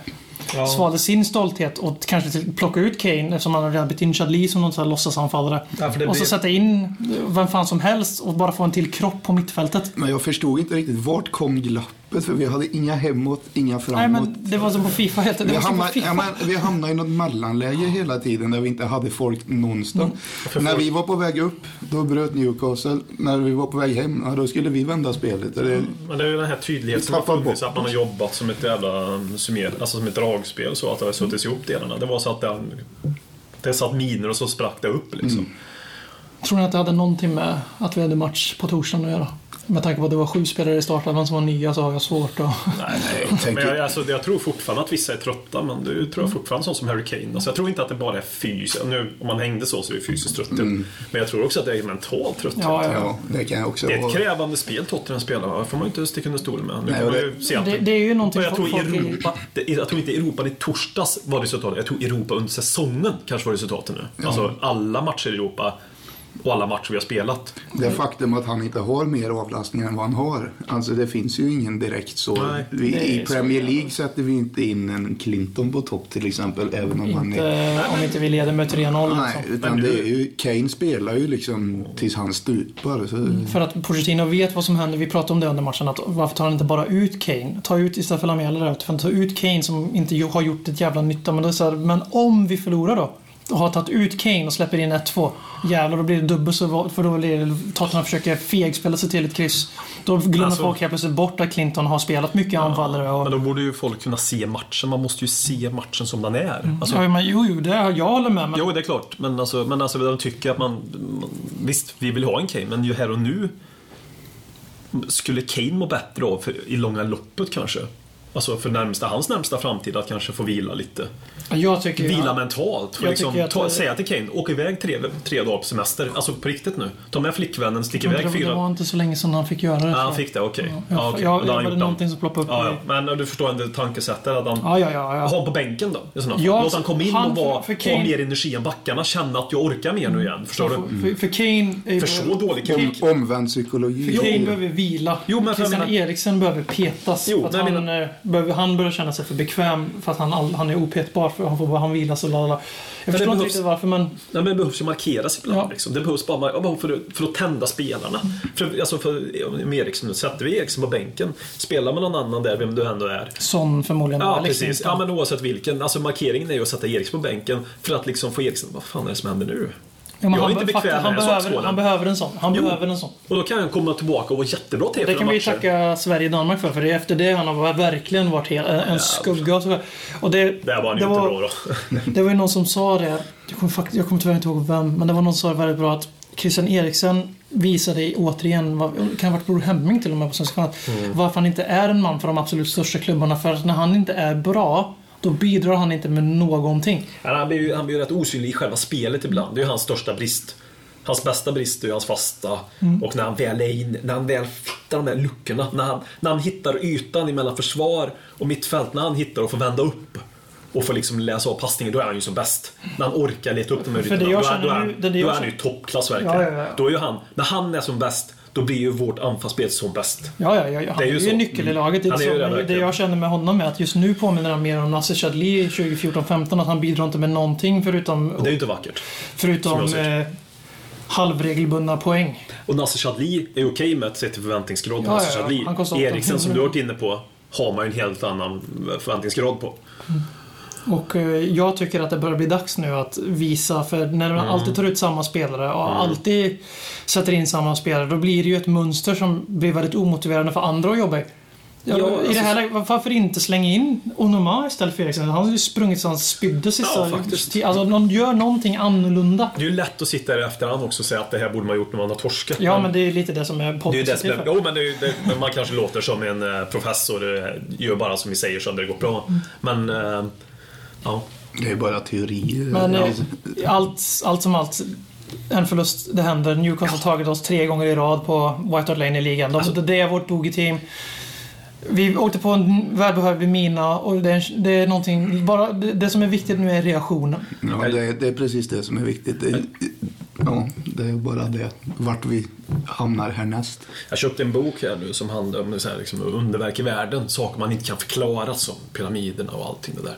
Speaker 2: svalde sin stolthet och kanske till, plocka ut Kane eftersom han redan blivit inchad Lee som någon sån här låtsasanfallare.
Speaker 3: Ja, för det
Speaker 2: Och så
Speaker 3: blir-
Speaker 2: sätta in vem fan som helst och bara få en till kropp på mittfältet.
Speaker 4: Men jag förstod inte riktigt, vart kom glappet? För vi hade inga hemåt, inga
Speaker 2: Nej
Speaker 4: framåt.
Speaker 2: men det var som på Fifa helt det
Speaker 4: vi,
Speaker 2: var som på
Speaker 4: hamnade, ja,
Speaker 2: FIFA.
Speaker 4: men, vi hamnade i något mellanläge hela tiden där vi inte hade folk någonstans. När vi var på väg upp, då bröt Newcastle. När vi var på väg hem, ja, då skulle vi vända spelet. Och Det,
Speaker 3: Men det är ju den här tydligheten som har
Speaker 4: Tappar
Speaker 3: funnits,
Speaker 4: bort.
Speaker 3: att man har jobbat som ett jävla um, summer, alltså som ett dragspel så, att det har suttit ihop delarna. Det var så att det, det satt miner och så sprack det upp liksom.
Speaker 2: Tror ni att det hade någonting med att vi hade match på torsdagen att göra? Med tanke på att det var sju spelare i startelvan som var nya så har jag svårt att...
Speaker 4: Nej, tänk
Speaker 3: Men jag, alltså, jag tror fortfarande att vissa är trötta, men det tror jag fortfarande sånt som Harry Kane. Alltså, jag tror inte att det bara är fysiskt. Nu, om man hängde så så är det fysiskt trötthet. Men jag tror också att det är mentalt trötthet.
Speaker 2: Ja, ja.
Speaker 4: Ja, det kan jag också
Speaker 3: Det är ett
Speaker 4: vara.
Speaker 3: krävande spel Tottenham spelar, det får man ju inte sticka under stol med. Nu
Speaker 4: Nej,
Speaker 3: kan man
Speaker 4: och
Speaker 3: ju se att
Speaker 2: Det, det är ju någonting
Speaker 3: Och jag tror
Speaker 2: folk är-
Speaker 3: Europa, det, jag tror inte Europa i torsdags var resultatet. Jag tror Europa under säsongen kanske var resultatet nu. Alltså alla matcher i Europa och alla matcher vi har spelat.
Speaker 4: Det faktum att han inte har mer avlastning än vad han har. Alltså det finns ju ingen direkt så.
Speaker 3: Nej,
Speaker 4: vi,
Speaker 3: det är
Speaker 4: I Premier League sätter vi inte in en Clinton på topp till exempel. Även om han är...
Speaker 2: Inte, eh, om inte vi leder med 3-0.
Speaker 4: Nej,
Speaker 2: liksom.
Speaker 4: utan
Speaker 3: Men
Speaker 4: det
Speaker 3: du-
Speaker 4: är ju, Kane spelar ju liksom tills han stupar. Så,
Speaker 2: För att Pochettino vet vad som händer. Vi pratade om det under matchen. Att varför tar han inte bara ut Kane? Ta ut istället för Lamiela där ute. För att ta ut Kane som inte ju- har gjort ett jävla nytta. Men, det är så här, men om vi förlorar då? Och har tagit ut Kane och släpper in 1-2. Jävlar, då blir det dubbelt så va- För då blir det Tottenham försöker fegspela sig till ett kryss. Då glömmer
Speaker 3: Alltså-
Speaker 2: folk helt plötsligt bort att Clinton har spelat mycket anfallare. Och,
Speaker 3: Men då borde ju folk kunna se matchen. Man måste ju se matchen som den är. Alltså,
Speaker 2: ja, men, jo, jo, det, jag håller med. Men
Speaker 3: Jo, det är klart. Men alltså, men alltså de tycker att man... man- Visst, vi vill ha en Kane, men ju här och nu skulle Kane må bättre av för, i långa loppet kanske. Alltså för närmsta, hans närmsta framtid att kanske få vila lite.
Speaker 2: jag tycker
Speaker 3: Vila mentalt. För
Speaker 2: Jag
Speaker 3: liksom,
Speaker 2: tycker att- eh,
Speaker 3: ta, säga till Kane, åk iväg tre, tre dagar på semester. Alltså på riktigt nu. Ta med flickvännen, stick
Speaker 2: det,
Speaker 3: iväg
Speaker 2: var- det
Speaker 3: fyra...
Speaker 2: var inte så länge sedan han fick göra det.
Speaker 3: Ja,
Speaker 2: tror
Speaker 3: han
Speaker 2: jag.
Speaker 3: fick det, okej.
Speaker 2: Jag,
Speaker 3: Ja, okej.
Speaker 2: jag,
Speaker 3: Då har han
Speaker 2: var det
Speaker 3: gjort dem.
Speaker 2: någonting som ploppade upp.
Speaker 3: Ja,
Speaker 2: i-
Speaker 3: ja. Men du förstår inte tankesättet att han...
Speaker 2: Ja, ja, ja, ja.
Speaker 3: Ha honom på bänken då i sådana fall.
Speaker 2: Ja,
Speaker 3: Låt han komma in
Speaker 2: han
Speaker 3: och
Speaker 2: får-
Speaker 3: vara,
Speaker 2: för Kane-
Speaker 3: ha mer energi än backarna. Känna att jag orkar mer nu igen. Förstår du?
Speaker 2: För, för, Mm. för Kane... Är ju-
Speaker 3: Mm. För så dålig kan
Speaker 4: om, omvänd psykologi.
Speaker 2: Kane behöver vila.
Speaker 3: Jo, men för jag
Speaker 2: Christian
Speaker 3: menar-
Speaker 2: Eriksen behöver petas.
Speaker 3: Jo,
Speaker 2: för att
Speaker 3: men jag
Speaker 2: han, eh, behöver, han börjar känna sig för bekväm för att han, all- han är opetbar för han får bara han vilas och lalala. Jag förstår inte
Speaker 3: behövs-
Speaker 2: riktigt varför men...
Speaker 3: Nej, men det behövs ju markeras ibland.
Speaker 2: Ja.
Speaker 3: Liksom. Det behövs bara, ja, bara för, för att tända spelarna. För, alltså för, om Eriksson, nu sätter vi Eriksson på bänken, spelar man någon annan där, vem du ändå är.
Speaker 2: Sån förmodligen.
Speaker 3: Ja,
Speaker 2: är liksom
Speaker 3: precis.
Speaker 2: inte-
Speaker 3: Ja, men oavsett vilken. Alltså, markeringen är ju att sätta Eriksson på bänken för att liksom få Eriksson, vad fan är det som händer nu?
Speaker 2: Ja, men
Speaker 3: jag är
Speaker 2: han
Speaker 3: inte
Speaker 2: be-
Speaker 3: bekväm
Speaker 2: fattar,
Speaker 3: med
Speaker 2: han
Speaker 3: den här
Speaker 2: behöver,
Speaker 3: sakskålen.
Speaker 2: han behöver en sån. Han
Speaker 3: Jo.
Speaker 2: behöver en sån.
Speaker 3: Och då kan han komma tillbaka och vara jättebra till
Speaker 2: Det
Speaker 3: fyra
Speaker 2: kan vi ju
Speaker 3: matcher.
Speaker 2: tacka Sverige och Danmark för, för det är efter det han har verkligen varit hel, en en skugga. Och så. Och det,
Speaker 3: Där var han ju
Speaker 2: det
Speaker 3: inte bra då.
Speaker 2: Det var ju någon som sa det, jag kommer, fakt- jag kommer tyvärr inte ihåg vem, men det var någon som sa det väldigt bra att Christian Eriksen visade återigen, vad- det kan ha varit Bror Hemming till och med på Svenska att
Speaker 3: Mm.
Speaker 2: varför han inte är en man för de absolut största klubbarna. För att när han inte är bra, då bidrar han inte med någonting.
Speaker 3: Ja, Han blir, ju, han blir ju rätt osynlig i själva spelet ibland. Det är ju hans största brist. Hans bästa brist är ju hans fasta.
Speaker 2: Mm.
Speaker 3: Och när han väl är in, när han väl hittar de här luckorna. När han, när han hittar ytan mellan försvar och mittfält. När han hittar och får vända upp. Och får liksom läsa av passningen, då är han ju som bäst. När han orkar leta upp de här
Speaker 2: För det
Speaker 3: ytorna. Då,
Speaker 2: jag
Speaker 3: är-
Speaker 2: känner
Speaker 3: då, är
Speaker 2: nu-
Speaker 3: han-
Speaker 2: det- det
Speaker 3: då
Speaker 2: jag
Speaker 3: är han ju
Speaker 2: känner-
Speaker 3: toppklass verkligen.
Speaker 2: Ja, ja, ja.
Speaker 3: Då är ju han, när han är som bäst, då blir ju vårt anfallsspel som bäst.
Speaker 2: Ja, ja, ja, ja. han
Speaker 3: Det
Speaker 2: är
Speaker 3: är
Speaker 2: ju,
Speaker 3: ju så.
Speaker 2: nyckel i
Speaker 3: Mm.
Speaker 2: laget. Det, är
Speaker 3: Han är ju
Speaker 2: så,
Speaker 3: det,
Speaker 2: men det
Speaker 3: verkligen.
Speaker 2: jag känner med honom är att just nu påminner han mer om Nasser Chadli 2014-15, att han bidrar inte med någonting förutom,
Speaker 3: Och det är ju inte vackert. som jag
Speaker 2: förutom
Speaker 3: ser.
Speaker 2: eh, halvregelbundna poäng.
Speaker 3: Och Nasser Chadli är okej med att se till förväntningsgrad på
Speaker 2: Ja,
Speaker 3: Nasser
Speaker 2: ja, ja.
Speaker 3: Chadli.
Speaker 2: Han kostar åtta
Speaker 3: Eriksen som du
Speaker 2: miljoner.
Speaker 3: har varit inne på har man ju en helt annan eh, förväntningsgrad på.
Speaker 2: Och eh, jag tycker att det börjar bli dags nu att visa, för när man alltid tar ut samma spelare och alltid sätter in samma spelare, då blir det ju ett mönster som blir väldigt omotiverande för andra att jobba i. Ja,
Speaker 3: Ja,
Speaker 2: I det här
Speaker 3: alltså-
Speaker 2: läget, var- varför inte slänga in Onoma istället för Eriksen? Han har ju sprungit så han spydde sista...
Speaker 3: Ja, faktiskt.
Speaker 2: alltså, någon gör någonting annorlunda.
Speaker 3: Det är ju lätt att sitta här i efterhand också och säga att det här borde man ha gjort när man har torskat.
Speaker 2: Ja, men det är lite det som är
Speaker 3: det är ju det
Speaker 2: poddens
Speaker 3: som är,
Speaker 2: för.
Speaker 3: jo, men det är ju, det, men man kanske låter som en eh, professor, eh, gör bara som vi säger så hade det gått bra.
Speaker 2: Mm.
Speaker 3: Men, eh, ja.
Speaker 4: Det är bara teorier.
Speaker 2: Men eh,
Speaker 4: Alltså,
Speaker 2: allt, allt som allt, en förlust, det händer. Newcastle har tagit oss tre gånger i rad på White Hart Lane i ligan. De,
Speaker 3: Alltså-
Speaker 2: det, det är vårt bogeyteam. Vi åkte på en välbehövlig mina och det är, det är någonting, bara, det, det som är viktigt nu är reaktionen.
Speaker 4: ja, det, är- det är precis det som är viktigt. Det, ja, det är bara det. Vart vi hamnar härnäst.
Speaker 3: Jag köpte en bok här nu som handlar om så här, liksom, underverk i världen, saker man inte kan förklara som pyramiderna och allting det där.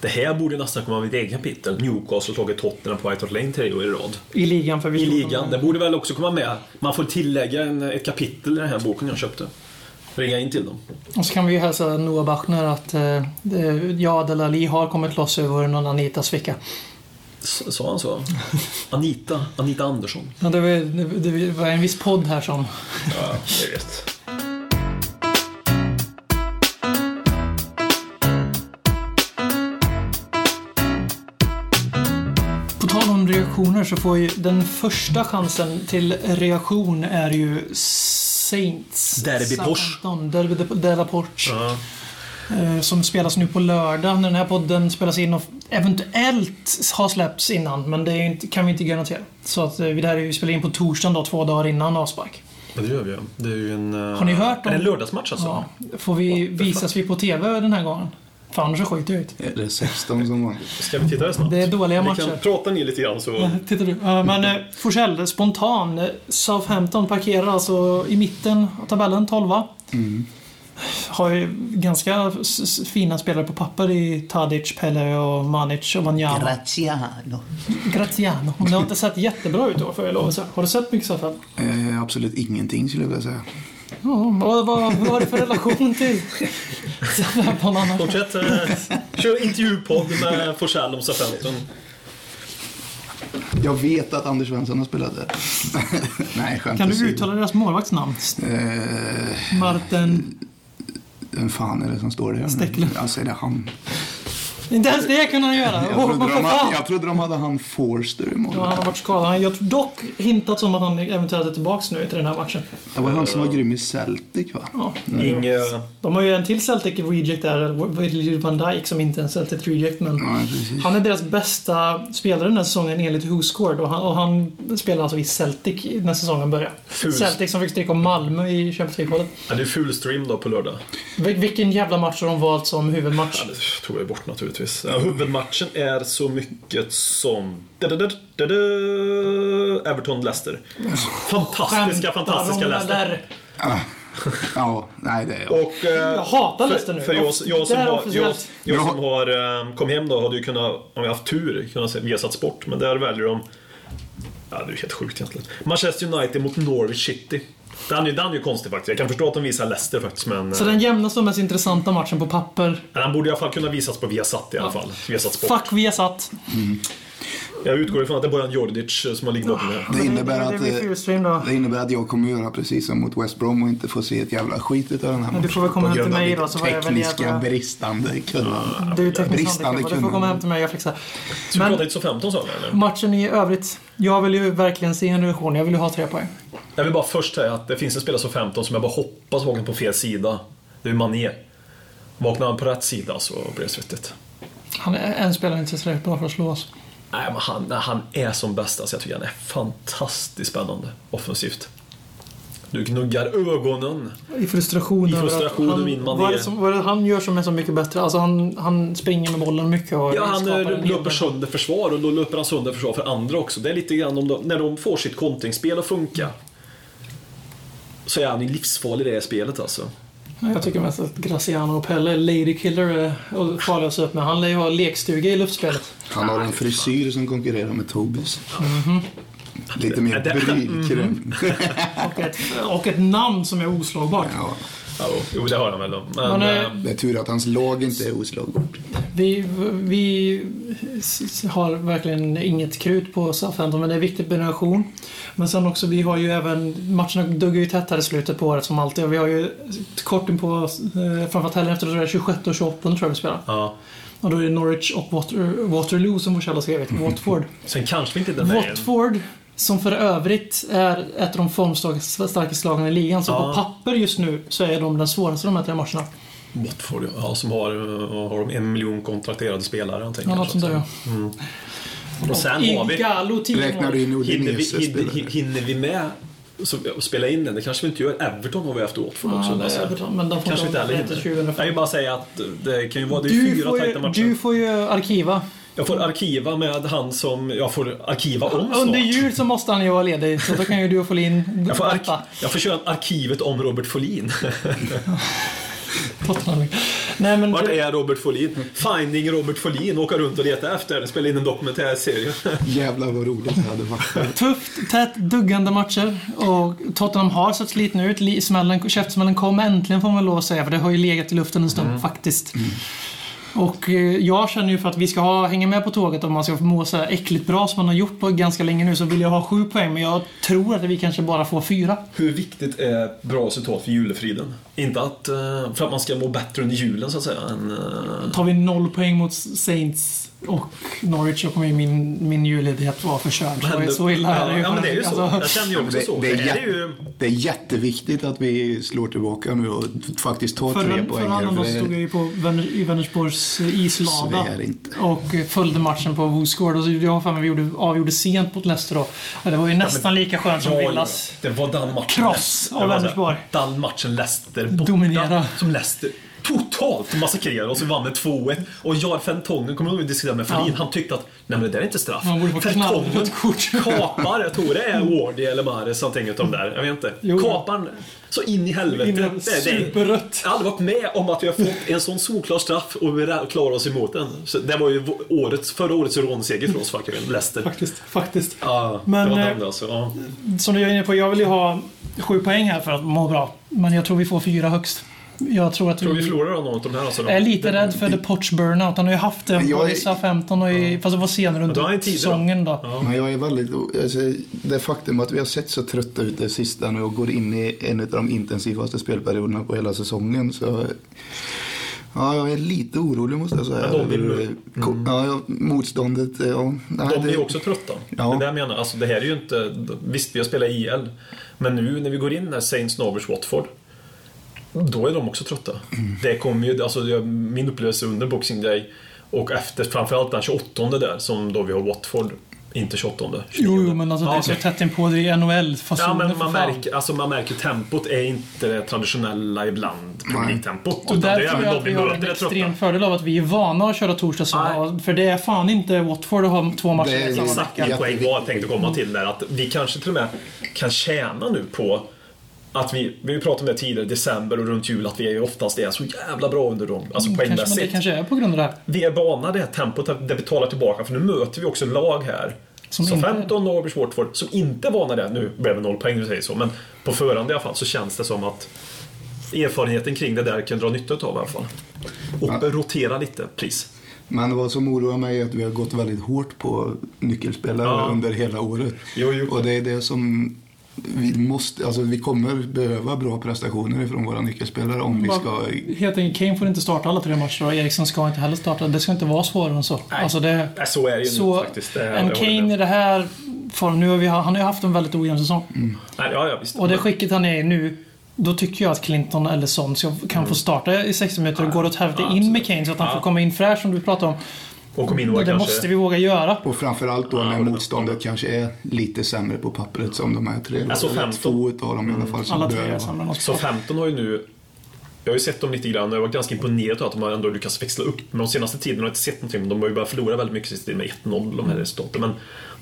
Speaker 3: Det här borde nästan komma med ett eget kapitel. Newcastle har tagit Tottenham på White Hart Lane tre år i rad.
Speaker 2: I ligan för vi
Speaker 3: I ligan. Det borde väl också komma med. Man får tillägga en, ett kapitel i den här boken jag köpte. Ringa in till dem.
Speaker 2: Och så kan vi ju hälsa Noah Bachner att eh, det- jag och Ali har kommit loss ur någon Anitas ficka.
Speaker 3: S- Sa han så? Anita, Anita Andersson.
Speaker 2: Men det, var, det, det var en viss podd här som...
Speaker 3: Ja, jag vet.
Speaker 2: På tal om reaktioner så får ju den första chansen till reaktion är ju s- Saints.
Speaker 3: Derby Porsche.
Speaker 2: Southampton, Derby de, de la Porsche. Eh, Som spelas nu på lördag när den här podden spelas in och eventuellt har släppts innan. Men det är ju inte, kan vi inte garantera. Så att eh, det här är ju spelat in på torsdagen då, två dagar innan avspark.
Speaker 3: Ja, det gör vi ju. Det är ju en... eh,
Speaker 2: Har ni hört om-
Speaker 3: Är det en lördagsmatch alltså?
Speaker 2: Ja. Får vi, visas vi på TV den här gången? För annars så skiter jag ut.
Speaker 4: Det är 16 som vanligt.
Speaker 3: Ska vi titta det snabbt?
Speaker 2: Det är dåliga
Speaker 3: Vi
Speaker 2: matcher.
Speaker 3: kan prata ni lite grann så...
Speaker 2: Tittar du? Ja, men eh, Forsell, spontan. eh, Southampton parkerar alltså i mitten av tabellen, 12
Speaker 4: Mm.
Speaker 2: Har ju ganska s- s- fina spelare på papper i Tadic, Pelle och Manic och Wanyama.
Speaker 5: Graziano.
Speaker 2: Graziano. Men det har inte sett jättebra ut då, får jag lov att säga. Har du sett mycket Southampton?
Speaker 4: Eh, absolut ingenting skulle jag vilja säga.
Speaker 2: Ja, vad, vad, vad har du för relation till Southampton annars?
Speaker 3: Fortsätt. eh, Kör intervjupodd med Forsell om Southampton.
Speaker 4: Jag vet att Anders Svensson har spelat där. Nej, skämt
Speaker 2: Kan
Speaker 4: åsido.
Speaker 2: du uttala deras målvaktsnamn?
Speaker 4: Eh,
Speaker 2: Martin...
Speaker 4: vem fan är det som står där? nu?
Speaker 2: Stecklund.
Speaker 4: Alltså, är det han?
Speaker 2: Inte ens det kunde han göra!
Speaker 4: Jag
Speaker 2: Åh,
Speaker 4: trodde,
Speaker 2: vad
Speaker 4: de
Speaker 2: fan!
Speaker 4: hade, jag trodde de hade han Forster i mål.
Speaker 2: Ja, han har varit skadad. Jag har dock hintat om att han eventuellt är tillbaka nu till den här matchen.
Speaker 4: Det var han som var grym i Celtic va?
Speaker 2: Ja.
Speaker 3: Inge...
Speaker 2: De har ju en till Celtic Reject där, Virgil van Dijk, som inte är en Celtic Reject, men
Speaker 4: Ja, precis.
Speaker 2: han är deras bästa spelare den här säsongen enligt WhoScored och han, och han spelar alltså i Celtic när säsongen börjar.
Speaker 3: Ful.
Speaker 2: Celtic som fick stryk av Malmö i Champions League-kvalet.
Speaker 3: Ja, det är full stream då på lördag.
Speaker 2: Vil- vilken jävla match har de valt som huvudmatch?
Speaker 3: Ja, det tog jag bort naturligtvis. Ja, huvudmatchen är så mycket som... Everton-Leicester. Fantastiska, fantastiska
Speaker 2: de
Speaker 3: Leicester.
Speaker 2: där?
Speaker 4: Ja, nej det är jag.
Speaker 3: Och, eh,
Speaker 2: Jag hatar
Speaker 3: för-
Speaker 2: Leicester nu.
Speaker 3: För jag, jag
Speaker 2: Där
Speaker 3: som har, jag,
Speaker 2: officiellt.
Speaker 3: jag som har eh, kom hem då hade ju kunnat, om jag haft tur, kunnat se Viasat Sport. Men där väljer de... Ja, det är ju helt sjukt egentligen. Manchester United mot Norwich City. Den är, ju- den är ju konstig faktiskt. Jag kan förstå att de visar Leicester faktiskt, men...
Speaker 2: Så
Speaker 3: eh,
Speaker 2: den jämnaste och mest intressanta matchen på papper.
Speaker 3: men den borde i alla fall kunna visas på Viasat i alla fall. Viasat Sport.
Speaker 2: Fuck Viasat.
Speaker 3: Jag utgår ifrån att det är Bojan Jordic eh, som har liggt bakom
Speaker 2: Ah.
Speaker 3: det här.
Speaker 4: Det innebär,
Speaker 2: Det
Speaker 4: att,
Speaker 2: blir
Speaker 4: eh,
Speaker 2: fulstream då.
Speaker 4: det innebär att jag kommer göra precis som mot West Brom och inte få se ett jävla skit utav den här
Speaker 2: Men du får väl komma hem
Speaker 4: På
Speaker 2: till
Speaker 4: grund av
Speaker 2: mig
Speaker 4: mitt
Speaker 2: då, så får jag väl
Speaker 4: tekniska
Speaker 2: hjälpa.
Speaker 4: bristande kunnande.
Speaker 2: Du är tekniskt
Speaker 4: Bristande
Speaker 2: handikappad, du får komma
Speaker 4: kunnande.
Speaker 2: hem till mig jag fixar.
Speaker 3: Så vi
Speaker 2: Men
Speaker 3: pratar inte så 15 sa vi eller?
Speaker 2: matchen i övrigt. Jag vill ju verkligen se en reaktion. Jag vill ju ha tre poäng.
Speaker 3: Jag vill bara först säga att det finns en spelare som 15 som jag bara hoppas vaknar på fel sida. Det är Mané. Vaknar han på rätt sida så blir det svettigt.
Speaker 2: Han är en spelare inte tillräckligt bra för att slå oss.
Speaker 3: Nej, men han, när han är som bäst alltså. Jag tycker han är fantastiskt spännande offensivt. Du gnuggar ögonen.
Speaker 2: I frustration.
Speaker 3: I
Speaker 2: över att
Speaker 3: frustration
Speaker 2: han-
Speaker 3: vinner man
Speaker 2: Vad är
Speaker 3: det.
Speaker 2: det som, vad är det han gör som är så mycket bättre? Alltså han, han springer med bollen mycket och
Speaker 3: Ja, han
Speaker 2: skapar en
Speaker 3: eh,
Speaker 2: hel
Speaker 3: löper
Speaker 2: del.
Speaker 3: sönder försvar och då löper han sönder försvar för andra också. Det är lite grann om de, när de får sitt kontringsspel att funka. Så är han ju livsfarlig i det här spelet alltså.
Speaker 2: Jag tycker mest att Graciano och Pelle, Ladykiller, är eh, farliga att se upp med. Han lär ju ha lekstuga i luftspelet.
Speaker 4: Han har en frisyr som konkurrerar med Tobis.
Speaker 2: Mhm.
Speaker 4: Lite
Speaker 3: Ja,
Speaker 4: mer
Speaker 3: det- Mm.
Speaker 4: brylkräm.
Speaker 2: Och ett, och ett namn som är oslagbart.
Speaker 4: Ja,
Speaker 3: Ja, jo, det har han väl. då. Men,
Speaker 2: Men, eh,
Speaker 3: eh,
Speaker 4: det är tur att hans lag inte är oslagbart.
Speaker 2: Vi, vi s- har verkligen inget krut på Southampton, men det är viktigt med relation. Men sen också, vi har ju även, matcherna duggar ju tätt här i slutet på året som alltid. Och vi har ju korten på, eh, framförallt helgen efter, så är det 26 och 28 tror jag vi spelar.
Speaker 3: ja.
Speaker 2: Och då är det Norwich och Water, Waterloo som Forsell har skrivit, Watford.
Speaker 3: Sen kanske vi inte Mm. den vägen.
Speaker 2: Watford, som för övrigt är ett av de formstarkaste lagen i ligan, så på papper just nu så är de den svåraste av de här tre matcherna.
Speaker 3: Watford, ja, som har, eh, har de en miljon kontrakterade spelare. Jag tänker,
Speaker 2: Ja, något sånt där ja.
Speaker 3: Och sen har vi...
Speaker 2: Igalo 10
Speaker 4: Räknar du in
Speaker 3: Hinner vi,
Speaker 4: Udinese
Speaker 3: hinner,
Speaker 4: spelare?
Speaker 3: hinner vi med så- att spela in den? Det kanske vi inte gör. Everton har vi efter Watford också.
Speaker 2: det är
Speaker 3: alltså.
Speaker 2: Everton, men de får
Speaker 3: kanske
Speaker 2: inte
Speaker 3: inte heller
Speaker 2: vänta till
Speaker 3: hinner.
Speaker 2: 2005.
Speaker 3: Jag vill bara säga att det kan ju vara... Det är ju
Speaker 2: Du
Speaker 3: fyra
Speaker 2: får,
Speaker 3: tajta
Speaker 2: ju,
Speaker 3: matcher.
Speaker 2: du får ju arkiva.
Speaker 3: Jag får arkiva med han som... Jag får arkiva om snart.
Speaker 2: Under jul så måste han ju vara ledig, så då kan ju du få in
Speaker 3: Jag får, ark- jag får köra arkivet om Robert Folin.
Speaker 2: Tottenham. Nej men...
Speaker 3: Vart är Robert Folin? Finding Robert Folin. Åka runt och leta efter. Spela in en dokumentärserie.
Speaker 4: Jävlar vad roligt det hade varit.
Speaker 2: Tufft, tätt, duggande matcher. Och Tottenham har sett slitna ut. Li- Smällen, käftsmällen kom äntligen får man lov att säga, för det har ju legat i luften en
Speaker 3: Mm.
Speaker 2: stund faktiskt. Och eh, jag känner ju för att vi ska ha, hänga med på tåget om man ska må så här äckligt bra som man har gjort på ganska länge nu så vill jag ha sju poäng men jag tror att vi kanske bara får fyra.
Speaker 3: Hur viktigt är bra resultat för julefriden? Inte att, eh, för att man ska må bättre under julen så att säga. Än, eh,
Speaker 2: Tar vi noll poäng mot Saints och Norwich så kommer ju min, min julledighet vara förkörd. Så, så illa är det
Speaker 3: ja,
Speaker 2: ju.
Speaker 3: ja, men det är ju så.
Speaker 2: Alltså,
Speaker 3: Jag känner ju också
Speaker 4: Det,
Speaker 3: så.
Speaker 4: det, är
Speaker 3: Det är ju...
Speaker 4: jä- det är jätteviktigt att vi slår tillbaka nu och faktiskt tar tre
Speaker 2: Förra,
Speaker 4: poäng.
Speaker 2: förra
Speaker 4: här,
Speaker 2: annan
Speaker 4: för
Speaker 2: dag
Speaker 4: det-
Speaker 2: stod jag ju på Väner, i Vänersborgs eh, islada
Speaker 4: Så är det inte.
Speaker 2: och eh, följde matchen på Woosgård. Och så jag har för mig vi gjorde, avgjorde sent mot Leicester då. Ja, det var ju nästan lika skönt som
Speaker 3: Ja, ja.
Speaker 2: Villas.
Speaker 3: Det var den matchen.
Speaker 2: Kross
Speaker 3: Leicester.
Speaker 2: av
Speaker 3: Det var så.
Speaker 2: Vänersborg.
Speaker 3: Den matchen Leicester borta.
Speaker 2: Dominera.
Speaker 3: Som Leicester totalt massakrerade oss. Vi vann med 2-1. Och jag, Fentongen, kommer du ihåg vi diskuterade med Ferlin?
Speaker 2: Ja.
Speaker 3: Han tyckte att nej men det där är inte straff.
Speaker 2: Man borde få knall på ett kort.
Speaker 3: kapar, jag tror det är Wardy eller Mahrez någonting utav där. Jag vet inte.
Speaker 2: Jo.
Speaker 3: Kapar så in i helvete.
Speaker 2: In i
Speaker 3: Det- det-
Speaker 2: superrött.
Speaker 3: Jag har aldrig varit med om att vi har fått en sån solklar straff och vi klarar oss emot den. Så det var ju vå- årets, förra årets rånseger för oss faktiskt, Leicester.
Speaker 2: Faktiskt. faktiskt.
Speaker 3: Ja,
Speaker 2: Men,
Speaker 3: det var
Speaker 2: eh,
Speaker 3: den alltså. Ja.
Speaker 2: Som du är inne på, jag vill ju ha sju poäng här för att må bra. Men jag tror vi får fyra högst. Jag tror att
Speaker 3: Tror vi förlorar av någon av de här alltså? Då?
Speaker 2: Jag är lite rädd för The Potch Burnout. Han har ju haft den på
Speaker 4: Jag är-
Speaker 2: vissa 15 och i, fast det var senare
Speaker 3: då har han
Speaker 2: under
Speaker 3: ju tider då.
Speaker 2: säsongen då.
Speaker 4: Men jag är väldigt, alltså, det faktum att vi har sett så trötta ut det sista nu och går in i en av de intensivaste spelperioderna på hela säsongen så Ja, jag är lite orolig måste jag säga.
Speaker 3: Men de vill-
Speaker 4: Över- ko- ja, ja, motståndet, ja. Nej,
Speaker 3: De är
Speaker 4: det-
Speaker 3: ju också trötta.
Speaker 4: Ja.
Speaker 3: Det där menar, alltså det här är ju inte... Visst, vi har spelat IL. Men nu när vi går in här, Saints, Norwich, Watford. Då är de också trötta. Det kommer ju, alltså jag- min upplevelse under Boxing Day och efter framförallt den 28 där som då vi har Watford. Inte 28. 29.
Speaker 2: Jo, jo, men alltså det är
Speaker 3: Ja,
Speaker 2: så
Speaker 3: okej.
Speaker 2: tätt inpå. Det är
Speaker 3: Ja,
Speaker 2: NHL-fasoner
Speaker 3: men man märker, alltså man märker tempot är inte det traditionella ibland. Premier League-tempot.
Speaker 2: Och
Speaker 3: utan det är
Speaker 2: där tror
Speaker 3: även
Speaker 2: jag
Speaker 3: de
Speaker 2: att
Speaker 3: vi
Speaker 2: vi har
Speaker 3: möter
Speaker 2: en
Speaker 3: är trötta.
Speaker 2: extrem fördel av att vi är vana att köra torsdag söndag. För det är fan inte Watford att ha två matcher
Speaker 4: Det är
Speaker 2: i samma
Speaker 3: Exakt Alltså,
Speaker 2: vecka.
Speaker 3: min poäng var jag tänkte komma till där. Att vi kanske till och med kan tjäna nu på att vi, vi pratade om det tidigare, december och runt jul, att vi är oftast är så jävla bra under dem. Alltså
Speaker 2: Mm, Kanske, men det
Speaker 3: poängmässigt.
Speaker 2: kanske är på grund av det här.
Speaker 3: Vi är vana det här tempot, att det vi talar tillbaka, för nu möter vi också lag här.
Speaker 2: Som
Speaker 3: Som så
Speaker 2: inte-
Speaker 3: 15 Norwich Watford, som inte är vana det. Nu blev det noll poäng när du säger så, men på förhand i alla fall så känns det som att erfarenheten kring det där kan dra nytta av i alla fall. Och rotera lite, please.
Speaker 4: Men vad som oroar mig är att vi har gått väldigt hårt på nyckelspelare
Speaker 3: Ja.
Speaker 4: under hela året.
Speaker 3: Jo, jo.
Speaker 4: Och det är det som vi måste, alltså vi kommer behöva bra prestationer ifrån våra nyckelspelare om vi ska
Speaker 2: Helt enkelt, Kane får inte starta alla tre matcher och Eriksson ska inte heller starta. Det ska inte vara svårare än så. Alltså det,
Speaker 3: Nej, Äh, Så är det ju
Speaker 2: så,
Speaker 3: nu faktiskt. Det- jag
Speaker 2: en
Speaker 3: håller med.
Speaker 2: Kane i det här formen, nu har vi, han har ju haft en väldigt ojämn säsong.
Speaker 3: Nej, ja, ja, visst.
Speaker 2: Och det skicket han är i nu, då tycker jag att Clinton eller Son ska, kan
Speaker 3: Mm.
Speaker 2: få starta i 60 minuter och går åt helvete in med Kane så att han får komma in fräsch som du pratar om.
Speaker 3: Och kom in och
Speaker 2: Och det
Speaker 3: kanske...
Speaker 2: måste vi våga göra.
Speaker 4: Och framförallt då när motståndet kanske är lite sämre på pappret som de här tre.
Speaker 3: Alltså
Speaker 4: Eller
Speaker 3: 15.
Speaker 4: Två utav dem i alla fall. Som
Speaker 2: Alla tre
Speaker 4: bör
Speaker 2: är
Speaker 4: vara-
Speaker 2: sämre än oss.
Speaker 3: Så 15 har ju nu... Jag har ju sett dem lite grann och jag var ganska imponerad av att de har ändå lyckats växla upp. Men de senaste tiden har jag inte sett någonting. men De har ju börjat förlora väldigt mycket sista tiden med 1-0, de här resultaten. Men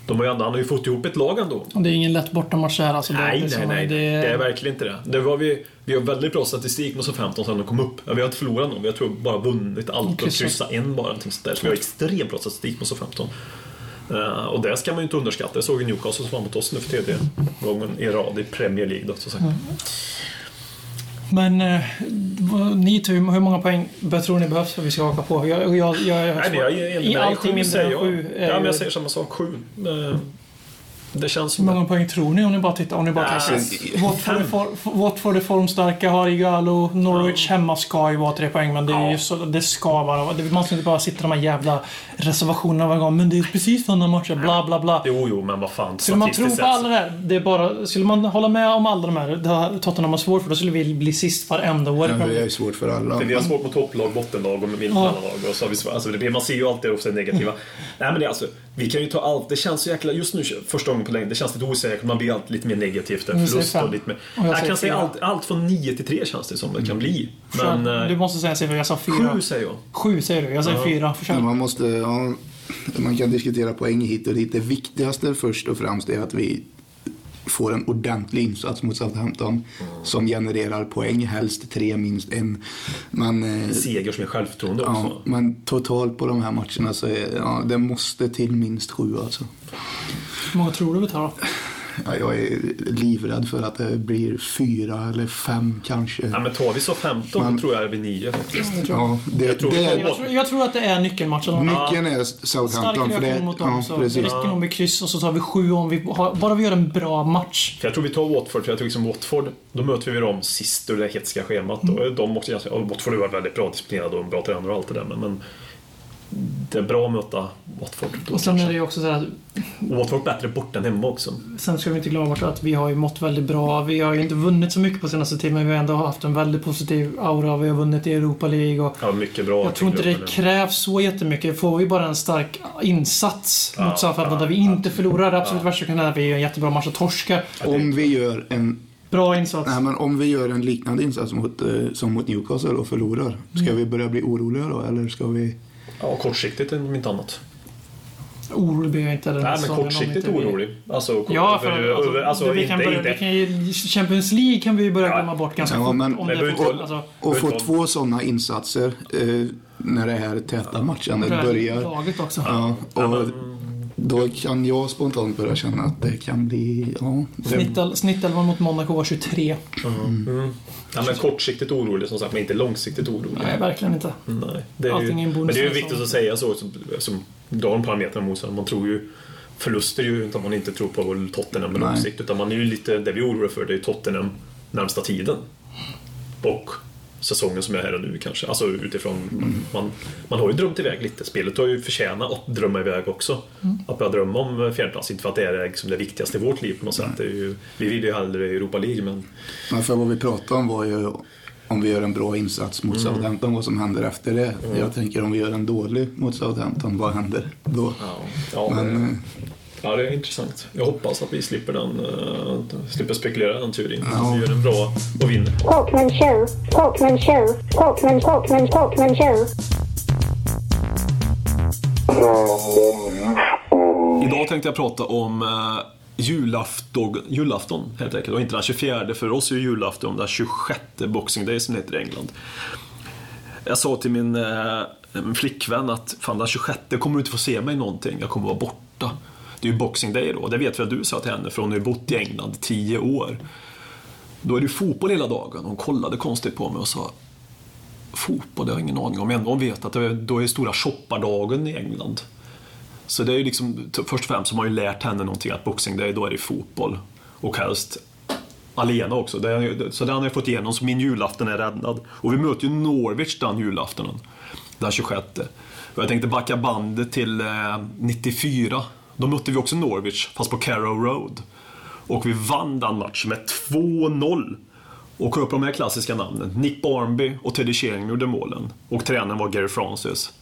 Speaker 3: de har ju ändå, han har ju fått ihop ett lag ändå.
Speaker 2: Och Det är ingen lätt bortamatch det här alltså. Det- det
Speaker 3: Nej,
Speaker 2: är så-
Speaker 3: nej, nej.
Speaker 2: Det,
Speaker 3: Det är verkligen inte det. det var vi, vi har väldigt bra statistik med så 15 sedan de kom upp. Ja, Vi har inte förlorat någon. Vi har tror jag bara vunnit allt och
Speaker 2: Kryssa.
Speaker 3: kryssat en bara. någonting sånt där. Så vi har extremt bra statistik med så 15. Eh, och det ska man ju inte underskatta. Jag såg ju Newcastle som var mot oss nu för tredje gången i rad i Premier League. Då, som sagt.
Speaker 2: Men eh, vad- ni tur, hur många poäng be- tror ni behövs för att vi ska haka på? Jag, jag, jag, jag,
Speaker 3: Nej, men jag är enig med dig.
Speaker 2: Alltså, Allting
Speaker 3: Sju
Speaker 2: mindre
Speaker 3: säger
Speaker 2: än
Speaker 3: jag.
Speaker 2: sju eh, är
Speaker 3: Ja, men
Speaker 2: ju-
Speaker 3: jag säger samma sak. Sju. Eh, Det känns
Speaker 2: Hur
Speaker 3: som
Speaker 2: många poäng tror ni om ni bara tittar? Om ni bara
Speaker 3: Nej,
Speaker 2: tittar.
Speaker 3: alltså,
Speaker 2: Watford är for- Watford är formstarka, har Igalo, Norwich hemma ska ju vara tre poäng men det, är ju så, det ska vara... Det, man ska inte bara sitta i de här jävla reservationerna varje gång. Men det är precis sådana matcher, bla bla bla.
Speaker 3: Jo, jo, men vad fan.
Speaker 2: Skulle man tro
Speaker 3: statistiskt
Speaker 2: på
Speaker 3: sett-
Speaker 2: alla det här, det är bara, skulle man hålla med om alla de här, det har Tottenham har svårt för, då skulle vi bli sist varenda år. i Premier
Speaker 4: Men det är
Speaker 2: League.
Speaker 4: ju svårt för alla.
Speaker 3: För vi har svårt mot topplag, bottenlag och mittenlag. Och så har vi, svårt- alltså det, blir- man ser ju alltid också det negativa. Nej men det är alltså, vi kan ju ta allt. Det känns så jäkla, just nu första gången på länge, det känns lite osäkert. Man blir alltid lite mer negativ efter
Speaker 2: Nu säger
Speaker 3: förlust
Speaker 2: fem.
Speaker 3: och lite mer.
Speaker 2: Och jag Mm.
Speaker 3: jag,
Speaker 2: säger
Speaker 3: kan säga
Speaker 2: fyra.
Speaker 3: allt, allt från 9 till 3 känns det som det kan bli.
Speaker 2: Försök.
Speaker 3: Men eh,
Speaker 2: du måste säga en siffra, jag sa fyra.
Speaker 3: sju säger jag.
Speaker 2: Sju säger du, jag säger fyra. Försök.
Speaker 4: Men man måste, ja, man kan diskutera poäng hit och dit. Det viktigaste först och främst är att vi får en ordentlig insats mot Southampton som genererar poäng, helst tre, minst en. Men, eh,
Speaker 3: Seger som är självförtroende
Speaker 4: ja,
Speaker 3: också.
Speaker 4: men totalt på de här matcherna så är, ja, det måste till minst sju alltså.
Speaker 2: Hur många tror du vi tar då?
Speaker 4: Ja, jag är livrädd för att det blir fyra eller fem kanske.
Speaker 3: Ja, men tar vi så 15
Speaker 4: Men-
Speaker 3: då tror jag är vi 9 faktiskt.
Speaker 4: Ja, det,
Speaker 3: tror-
Speaker 4: det är,
Speaker 2: Jag tror, jag tror att det är nyckelmatchen.
Speaker 4: nyckeln är
Speaker 2: Stark
Speaker 4: Southampton. För det,
Speaker 2: reaktion mot dem.
Speaker 4: ja,
Speaker 2: så det
Speaker 4: precis.
Speaker 2: räcker nog med kryss och så tar vi sju om vi har, bara vi gör en bra match.
Speaker 3: För jag tror vi tar Watford, för jag tror liksom Watford, då möter vi dem sist ur det hetsiga schemat.
Speaker 2: Mm.
Speaker 3: Och de också, ganska- och Watford har varit väldigt bra disciplinerade och en bra tränare och allt det där, men, men det är bra att möta Watford. Då,
Speaker 2: Och sen är
Speaker 3: kanske.
Speaker 2: det ju också så här att
Speaker 3: och Watford bättre borta än hemma också.
Speaker 2: Sen ska vi inte glömma bort att vi har ju mått väldigt bra. Vi har ju inte vunnit så mycket på senaste tiden, men vi har ändå haft en väldigt positiv aura. Vi har vunnit i Europa League och
Speaker 3: Ja, mycket bra.
Speaker 2: jag tror inte det
Speaker 3: men-
Speaker 2: krävs så jättemycket. Får vi bara en stark insats mot Southampton där vi inte förlorar, det absolut värsta som kan hända är att vi gör en jättebra match och torskar.
Speaker 4: Om vi gör en
Speaker 2: Bra insats.
Speaker 4: Nej, men om vi gör en liknande insats mot, eh, som mot Newcastle och förlorar, ska vi börja bli oroliga då? Eller ska vi...
Speaker 3: Ja, kortsiktigt om inte annat.
Speaker 2: Orolig blir jag inte den här
Speaker 3: Nej, men
Speaker 2: säsongen om
Speaker 3: kortsiktigt
Speaker 2: inte vi-
Speaker 3: orolig. Alltså,
Speaker 2: Ja, för
Speaker 3: över-
Speaker 2: alltså,
Speaker 3: över- alltså,
Speaker 2: vi kan
Speaker 3: inte,
Speaker 2: börja,
Speaker 3: inte.
Speaker 2: vi kan ju, Champions League kan vi ju börja glömma bort ganska
Speaker 4: Ja,
Speaker 2: fort.
Speaker 4: men-
Speaker 2: om
Speaker 4: Men
Speaker 2: det
Speaker 3: vi
Speaker 2: är
Speaker 3: inte
Speaker 2: fort,
Speaker 3: hålla-
Speaker 2: alltså,
Speaker 4: Och få
Speaker 3: Utan-
Speaker 4: två sådana insatser eh, när det här täta matchandet
Speaker 2: Mm.
Speaker 4: börjar.
Speaker 2: laget också.
Speaker 4: Ja, och då kan jag spontant börja känna att det kan bli... Ja, det,
Speaker 2: Snittel- Snittelvan mot Monaco var 23.
Speaker 3: Mm. Ja, men kortsiktigt orolig som sagt, men inte långsiktigt orolig.
Speaker 2: Nej, verkligen inte.
Speaker 3: Nej, det är ju,
Speaker 2: Allting är en bonus
Speaker 3: men det är ju
Speaker 2: som-
Speaker 3: viktigt att säga så. Som, som, då har de parametrarna mot sig. Man tror ju förluster är ju inte om man inte tror på Tottenham på lång
Speaker 4: Nej.
Speaker 3: sikt. Utan man är ju lite, det vi är oroliga för det är ju Tottenham närmsta tiden. Och säsongen som är här och nu kanske. Alltså utifrån,
Speaker 4: Mm.
Speaker 3: man, man har ju drömt iväg lite. Spelet har ju förtjänat att drömma iväg också.
Speaker 2: Mm.
Speaker 3: Att börja drömma om fjärdeplats, inte för att det är liksom det viktigaste i vårt liv på något sätt. Det är ju, vi vill ju hellre Europa League men
Speaker 4: men för vad vi pratade om var ju om vi gör en bra insats mot Southampton, vad som händer efter det. Jag tänker om vi gör en dålig mot Southampton, vad händer då?
Speaker 3: ja, ja, det-
Speaker 4: Men, eh,
Speaker 3: Ja, det är intressant. Jag hoppas att vi slipper, den, eh, slipper spekulera den turen.
Speaker 4: Ja.
Speaker 3: Vi gör den bra och vinner.
Speaker 7: Portman Show, Portman Show, Portman, Portman, Portman Show.
Speaker 3: Idag tänkte jag prata om eh, julafton, julafton helt enkelt. Och inte den 24, för oss är ju julafton den 26 Boxing Day som det heter i England. Jag sa till min, eh, min flickvän att fan den 26 kommer du inte få se mig någonting, jag kommer vara borta. Det är ju Boxing Day då, och det vet väl du sa jag till henne, för hon har ju bott i England i 10 år. Då är det ju fotboll hela dagen. Hon kollade konstigt på mig och sa Fotboll, det har jag ingen aning om. Men hon vet att det är, då är stora shoppardagen i England. Så det är ju liksom, t- först och främst har man ju lärt henne någonting att Boxing Day, då är det fotboll. Och helst alena också. Det är, ju- så den har jag fått igenom, så min julafton är räddad. Och vi möter ju Norwich den julaftonen, den 26. Och jag tänkte backa bandet till eh, 94. Då mötte vi också Norwich, fast på Carrow Road. Och vi vann den matchen med 2-0. Och kom upp på de här klassiska namnen. Nick Barnby och Teddy Sheringham gjorde målen. Och tränaren var Gary Francis.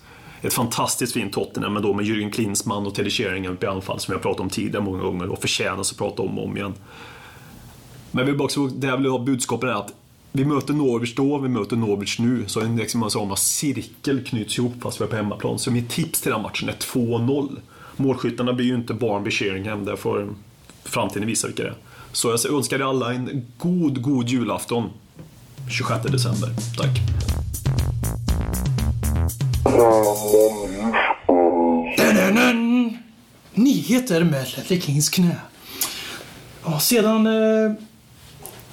Speaker 3: Ett fantastiskt fint Tottenham, men då med Jürgen Klinsmann och Teddy Sheringham i anfall som jag pratat om tidigare många gånger och förtjänas att prata om och om igen. Men jag vill bara också, det jag vill ha budskapet är att vi möter Norwich då, vi möter Norwich nu. Så en liksom en sån här cirkel knyts ihop fast vi är på hemmaplan. Så mitt tips till den matchen är 2-0. Målskyttarna blir ju inte Barnby Sheringham, där får framtiden visa vilka det är. Så jag önskar er alla en god, god julafton. 26 december. Tack.
Speaker 2: Nyheter med Ledley Kings knä. Ja, sedan eh,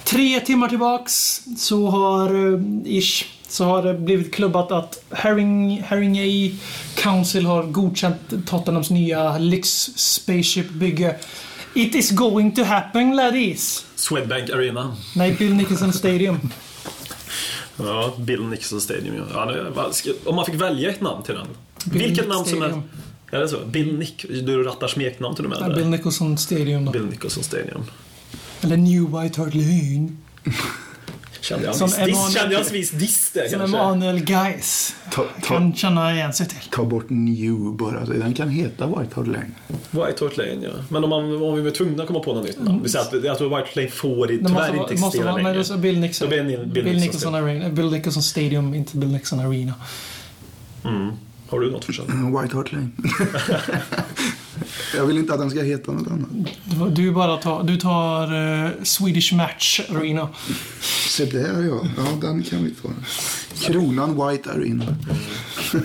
Speaker 2: tre timmar tillbaks så har, eh, ish, så har det blivit klubbat att Herring, Herringay Council har godkänt Tottenhams nya lyx-spaceship-bygge. It is going to happen ladies!
Speaker 3: Swedbank Arena.
Speaker 2: Nej, Bill Nicholson Stadium.
Speaker 3: Ja, Bill Nixon Stadium. ja. Ja, det, vad ska- om man fick välja ett namn till den. Vilket
Speaker 2: Nick
Speaker 3: namn som helst.
Speaker 2: Stadium.
Speaker 3: Är det så? Bill Nick? Du rattar smeknamn till och med?
Speaker 2: Ja,
Speaker 3: eller?
Speaker 2: Bill Nicholson Stadium då.
Speaker 3: Bill Nicholson Stadium.
Speaker 2: Eller New White Hart Lane.
Speaker 3: Kände jag
Speaker 2: Som Emanuel-
Speaker 3: en viss diss? Kände jag en viss diss där
Speaker 2: Som
Speaker 3: kanske?
Speaker 2: Emanuel Geis
Speaker 4: ta, ta,
Speaker 2: kan känna igen sig till.
Speaker 4: ta bort New bara. Den kan heta White Hart Lane.
Speaker 3: White Hart Lane, ja. Men om, man, om vi var tvungna att komma på något nytt namn. Vi säger att, jag tror White Hart Lane får i,
Speaker 2: Det
Speaker 3: tyvärr
Speaker 2: måste vara-
Speaker 3: inte
Speaker 2: måste vara-
Speaker 3: existera
Speaker 2: alltså- nej,
Speaker 3: längre.
Speaker 2: det är Bill Nixon.
Speaker 3: Då blir det Bill
Speaker 2: Bill
Speaker 3: Nixon
Speaker 2: Nicholson Arena. Bill Nicholson Stadium, inte Bill Nixon Arena.
Speaker 3: Har du något förslag?
Speaker 4: White Hart Lane. jag vill inte att den ska heta något annat.
Speaker 2: Du- Du bara tar, du tar eh, Swedish Match Arena.
Speaker 3: Mm.
Speaker 4: Se där ja. Ja, den kan vi ta. Kronan White Arena.
Speaker 3: Nej,